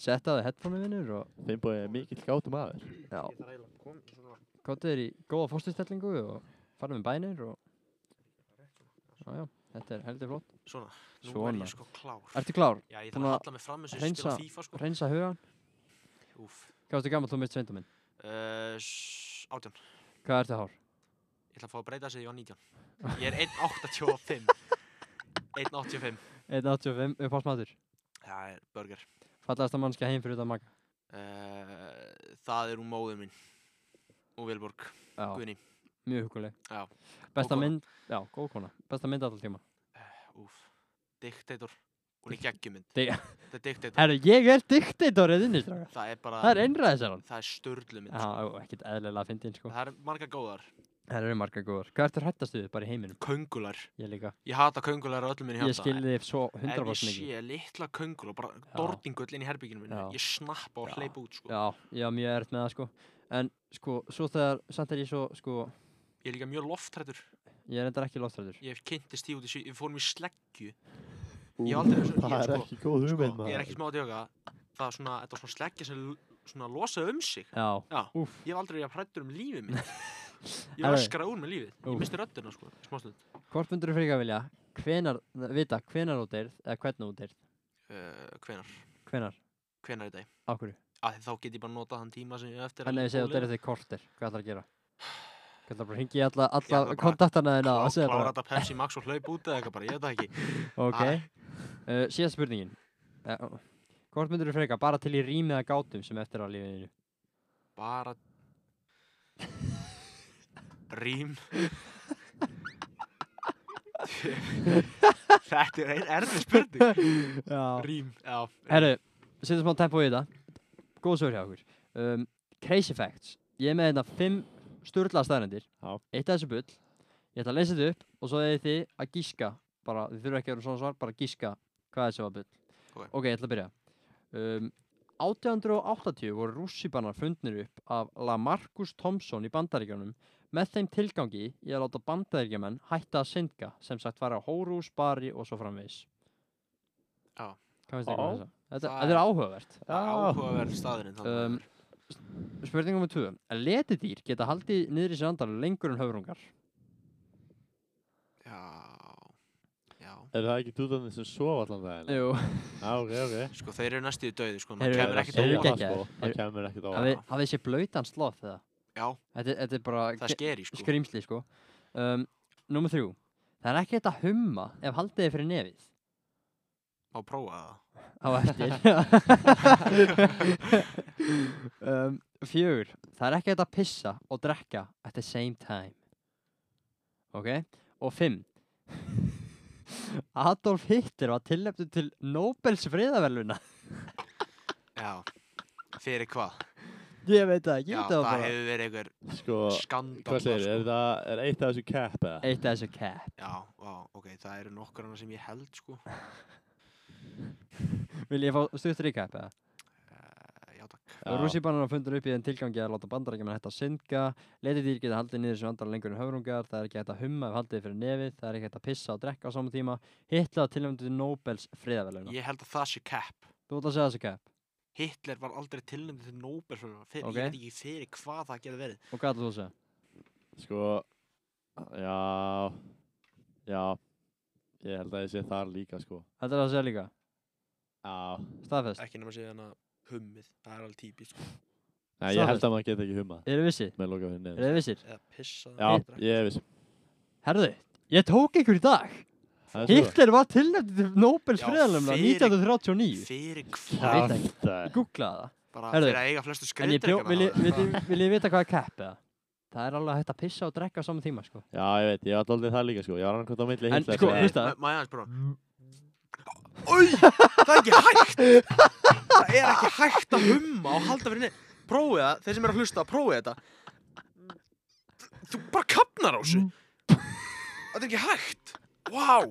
Setta þið headphone vinnur og
Finnbúið er mikill gátum aður.
Já,
Ég þarf eiginlega að koma svona
gott er í góða fórstustellingu og farið með bænir og Já, já, þetta er heldur flott
Svona, nú er
Svona.
ég sko klár
Ertu klár?
Já, ég þarf
Búin
að
að
halla mig fram eins og ég
hreinsa-
spila FIFA sko
reynsa hugan
Úff
Hvað ertu gammal þú mist sveindum minn?
Uh, s- 18
Hvað ertu hár?
Ég ætla að fá að breyta þessu því ég var 19 Ég er 1.85 1.85
1.85 upp á smatur
Það er burger
Fallast að mannskja heim fyrir þetta maga
uh, Það er úr móðu mín Og Vilborg
Já,
Guðni
mjög huguleg
Já,
Besta
góð kona.
mynd, já, góð kona Besta mynd alltaf tíma
Úff Diktator Hún er geggjumynd
Di-
Það er Diktator
Herru, ég er diktatorið inni, strákar
Það er bara
Það er einræðisarann
Það er störlumynd
Já, og ekkert eðlilega að fyndi inn, sko
Það er marga góðar
Það eru margar góðar Hvað ertu hrættast við bara í heiminum?
Köngular
Ég líka
Ég hata köngular á öllum minni
Ég skilði þið svo
Ef ég
100% mikið
sé litla köngul og bara dortingull inn í herbygginu minni,
Já.
ég snappa og
Já.
hleypa út sko.
Já, ég var mjög erft með það, sko En, sko, svo þegar, samt er ég svo, sko
Ég er líka mjög loftrættur.
Ég er endar ekki loftræður
Ég hef kynntist því út í sí, við fórum í sleggju. Ég hef aldrei þessu-
Það
ég,
er
sko-
ekki góð
Sko,
hugmynd,
ég er
maður.
ekki smá að djóka. Það er svona, þetta er svona sleggja sem l- svona losaði um sig.
Já,
Já.
úff
Ég hef aldrei verið að hrættur um lífið minn. Ég var
Alveg.
að skra úr með lífið.
Úff.
Ég misti röddina, sko, smástund.
Hvort myndur þú frekar vilja? Hvenar, vita, hvenar þú deyrð, eða hvernig þú deyrð?
Uh, hvenar?
Hvenar?
Hvenar í dag?
Á hverju?
Að þá get ég bara notað þann tíma sem ég á eftir.
Þannig að ég segja þú
þetta er
deyrð þig kortir, hvað ætlar að
*sighs*
gera? Hvað ætlar bara að hringja í alla,
Ég ætla
alla
bara
kontaktana þína
Klá,
og segja
klára
bara,
þetta Pepsi Max og hlaup út eða eitthvað bara, ég veit það ekki.
ok.
Æ.
Uh, síðast spurningin. Uh, hvort myndur þú frekar bara til í rýmið að gátum sem eftir á lífiðinu?
bara rím þetta er ein erfið spurning *laughs*
Já.
rím, já
Herru, setjum smá tempo í þetta. Góð sögur hjá okkur. Um, crazy facts. Ég er með hérna fimm sturla staðrendir.
Já.
Eitt af þessu bull. Ég ætla að leysa þetta upp og svo eða þið að gíska. Bara, þið þurfa ekki að vera svona svar, bara gíska hvað þessu var bull.
Ok.
ok, ég ætla að byrja. Um, 1880 voru rússipannar fundnir upp af Lamarcus Thompson í bandaríkjunum með þeim tilgangi í að láta bandaríkjumenn hætta að syndga sem sagt fara á hórús, bari og svo framvegis.
Já.
Hvað finnst þið
Já.
um þessa? Þetta,
Það
þetta er áhugavert.
það er áhugaverð staðurinn
Um, Spurning nummer 2. Letidýr geta haldið niður í sér andan lengur en höfrungar.
já já
Er það ekki dúðanir sem sofa allan daginn?
Jú.
Já, ok, ok.
sko þeir eru næstu í dauði sko
Þeir
það
eru-
kemur ekkert
þeir eru
Sofa
óvart
gegn- geggjaðir.
sko, Það kemur ekkert á
Hafið hafið þessi blautan sloth eða?
já
Þetta, þetta er bara
það er skeri
ge-
sko
skrýmsli sko. Um, nummer 3. Það er ekki hægt að humma ef haldið er fyrir nefið
má prófa það
á
*laughs*
eftir. um, fjögur. Það er ekki hægt að pissa og drekka at the same time. Ok? Og fimm. *laughs* Adolf Hitler var tilnefndur til Nobels friðaverluna.
já fyrir hvað
Ég veit það ekki,
já
þetta
það
var bara
hefur verið einhver
Sko,
skandal
hvað segir, er það, er eitt af þessu cap eða?
eitt af þessu cap.
já vá, ok það eru nokkur annað sem ég held sko
Vil ég fá stutt recap eða?
Eh, já takk
Já.
Rússipannar var fundur upp í þeim tilgangi að láta bandarækjumann hætta að syndga, letidýr geta haldið niður sem andara lengur en höfrungar, það er ekki hægt að humma ef haldið er fyrir nefið, það er ekki hægt að pissa og drekka á sama tíma, hitla tilnæmdu til Nobels friðaveluna.
ég held að það sé cap
Þú ætla að segja þessu cap
Hitler var aldrei tilnæmd til Nobelsfjörðuna fyrir,
Ok.
ég veit ekki fyrir hvað það getur verið
og hvað ætla þú að segja?
Sko, já, já, ég held að ég sé þar líka sko.
Þetta er að segja líka,
Já,
staðfest.
ekki nema síðan að hummið, það er alveg sko. típisk
Nei, ég held að maður geta ekki hummað
Eru vissi?
með loka fyrir nefn.
Eru vissir?
eða pissa
Já, ég er viss.
Herðu, ég tók ykkur í dag.
Það er sko- svo.
Hitler var tilnæmdu til Nobels
Já,
friðaveluna
fyrir-
1939.
fyrir
Ég veit
hvað
það ekki.
Kjaftaði.
Ég googlaði það.
bara
Herðu,
fyrir að eiga
En
flestu
ég bjó,
skriðdrekkana
vil ég, vil ég, vil ég vita hvað er cap eða? Það er alveg hægt að pissa og drekka á sama tíma, sko.
Já, ég veit, ég var aldrei það líka sko. Ég var annarkvæmt á milli
En
Hitler.
sko,
eða-
veist það?
má ég aðeins bara Új, það er ekki hægt það er ekki hægt að humma og halda fyrir neð prófið það, þeir sem eru að hlusta, prófið þetta þú bara kapnar á þessu þetta er ekki hægt wow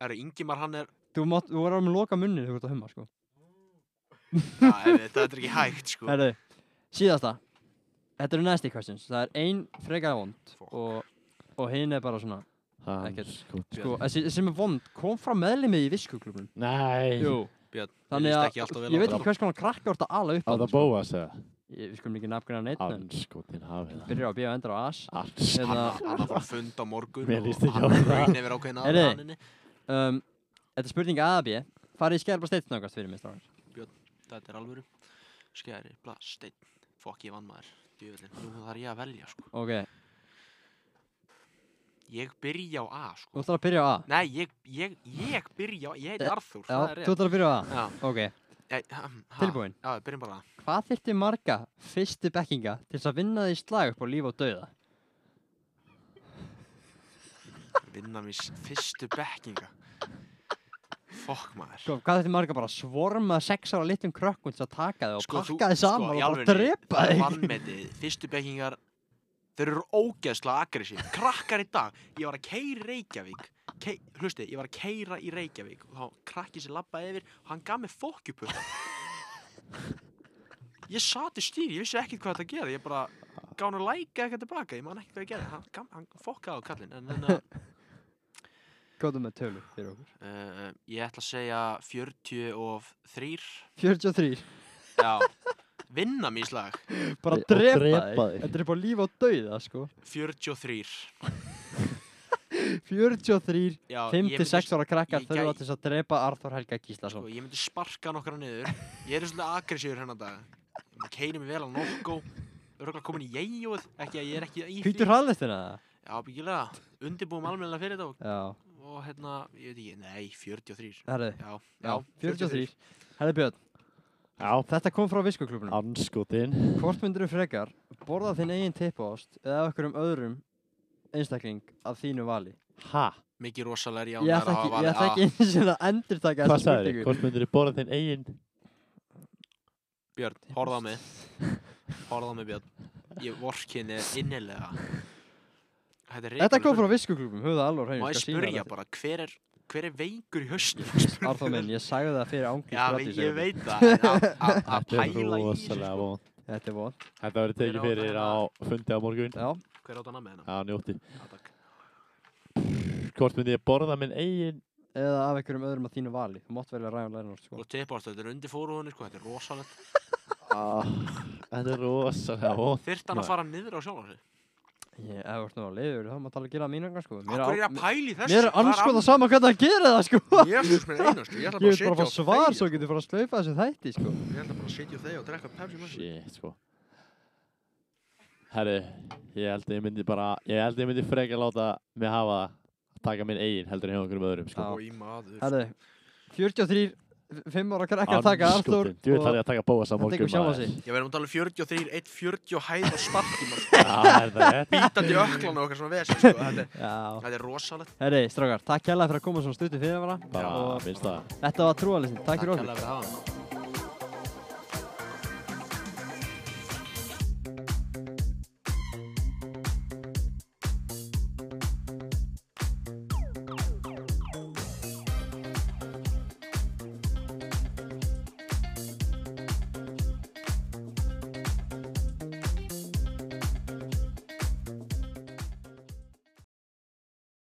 Herru, Ingimar hann er
Þú, mátt, þú voru að loka munni þegar þú ert að humma, sko.
Já, ef þetta er ekki hægt, sko.
Herðu, síðasta. Þetta eru nasty questions. Það er ein frekar vond
Fuck.
og, og hinn er bara svona,
Hann,
Ekkert.
sko.
sko, þessi sem er vond kom frá meðlimið í viskuklubun.
Nei.
Jú,
Björn,
þannig
mér líst
að
ekki alltaf vel á
ég veit
þetta.
ekki hvers konar krakka orða ala upp
Á það
þarna, sko.
bóa segja.
Ég- Við skulum ekki nafngrina neitt, en
Anskotin hafið það.
byrjar á að bíða endur á as.
Anskotin.
Hérna,
Hann hann var að funda á morgun
Mér líst ekki á
og
það.
hann hefur ákveðin
Heyrðu.
aðraninni.
um, þetta er spurning A að B. Farið í skerpa steitt nákvæmst fyrir mig, strákar.
Þetta er alvöru. Skæri, bla, steinn. Fokk, ég vann maður. Djöfullin, nú þarf ég að velja, sko.
Ok,
Ég byrja á A,
þú
sko.
ætlar að byrja á A.
Nei, ég, ég, ég byrja á, ég heiti
Eh,
Arþór,
Já,
það er
þú
rétt.
ætlar að byrja á A.
Já,
Ok,
eh, ha, ha.
Tilbúin.
Já, byrjum bara. á A.
hvað þyrfti marga fyrstu bekkinga til þess að vinna því slag upp á líf og dauða?
Vinna mér fyrstu bekkinga. Fokk maður.
Sko, hvað þetta marga bara svorma sex ára litum krökkun til að taka þig og pakka þig saman
Sko, í
og bara
alvörunni,
drepa
Það er
þig?
vannmetið, fyrstu bekkingar Þeir eru ógeðslega aggressív Krakkar í dag, ég var að keira í Reykjavík Kei, Hlusti, ég var að keira í Reykjavík Og þá krakkið sér labbaði yfir Og hann gaf mér fokkjupull Ég sati stýr, ég vissi ekkert hvað þetta gerði Ég bara gaf hann að læka eitthvað tilbaka Ég man ekkert hvað ég gerði Hann, gaf- hann fokkaði á kallinn En hérna, þannig
*laughs*
að
Góðum með tölu fyrir okkur.
uh, ég ætla að segja 43
43.
Já, vinna mig í slag
bara
Og
drepa,
drepa
þig
þig.
þetta er bara líf og dauða sko
43
43,
Já, ég myndi
5-6 ára krakkar
ég
þurfa
gæ-
til þess að drepa Arþór Helga
sko,
Gíslason
ég myndi sparka nokkra niður ég er svolítið agressífur hennan dag ég keini mig vel á nokko örgulega komin í jæjóð ekki að ég er ekki í
hýttur hraðlistina það?
já, byggilega, undirbúum almennilega fyrir þetta og,
já,
og hérna, ég veit ekki, nei, 43
herðu,
já,
já, 43 herðu Björn,
Já,
þetta kom frá viskuklubunum
anskotin
Hvort myndur þú frekar borða þinn eigin tippost eða okkur um öðrum einstakling af þínu vali?
Ha?
mikið rosalega er
ég ætla ekki, ég ætla
Ah.
ekki einu sinni að endur taka
Hvað sagði þið? Hvort myndir þið borða þinn eigin?
Björn, horfða
*laughs*
á mig horfða á mig Björn, ég vorkin er innilega þetta, er
Þetta
hrikaleg
kom frá
spurning.
viskuklubum, höfðu alveg hreinu.
má ég
skal sýna
spurja
þér
bara, hver er hver er veikur í höstum
þetta. Arþór minn, ég sagði það fyrir ángrið.
Já, ég, ég veit það, en að-
*laughs*
að- að
Þetta er
pæla í þessu,
rosalega
sko.
vond
Þetta er vond.
Þetta verður
Hver á
tekið fyrir á
þetta?
fundi á morgun
Já,
Hver átt hann að með hennar?
Já, njótti
Já, takk.
Hvort myndi ég borða minn eigin?
eða af okkur um öðrum af þínu vali. Þú mátt velja Ryan Leonard, sko.
Og tippast, þetta er undir fóruðunni, sko, þetta er rosalegt.
Ah, Þetta er rosalega vond
Þyrft hann að
Nei.
fara niður á sjálf hans?
Ég, ef þú ert nú á leiður, þá mátt alveg gera það mínanga, sko. Mér
Akkur er ég
á-
að pæli þessu?
Mér er anskoða sama hvað það gera það, sko.
Jésús minn einu, sko, ég ætla
Ég
bara að
vil bara
sitja
fá
og
svar svo
þegja.
ég geti fara að slaufa þessu þætti, sko.
Ég ætla bara að sitja og þegja og drekka pepsi með þessu.
Shit, sko Herri, ég held að ég myndi bara Ég held að ég myndi freka láta mig hafa það að taka minn eigin heldur en hjá einhverjum öðrum sko.
Já.
Í maður.
Herðu, 43, 5 ára krakkar taka Arthur
Þú veit það ég að taka bóa
þetta
saman
ykkur sjá sig.
Ég verðum að tala um 43, 1, 40 og hæð og sparki, maður, sko. *laughs*
Já,
*laughs*
Bítandi öklan og okkar svona vesi, sko. Þetta er-
Já,
Þetta er rosalegt.
herri, strákar, takk hérlega fyrir að koma svona stuttu fyrir að vera
bara
og
minnst það
þetta var trúalist, takk fyrir okkur.
hérlega fyrir að hafa hann.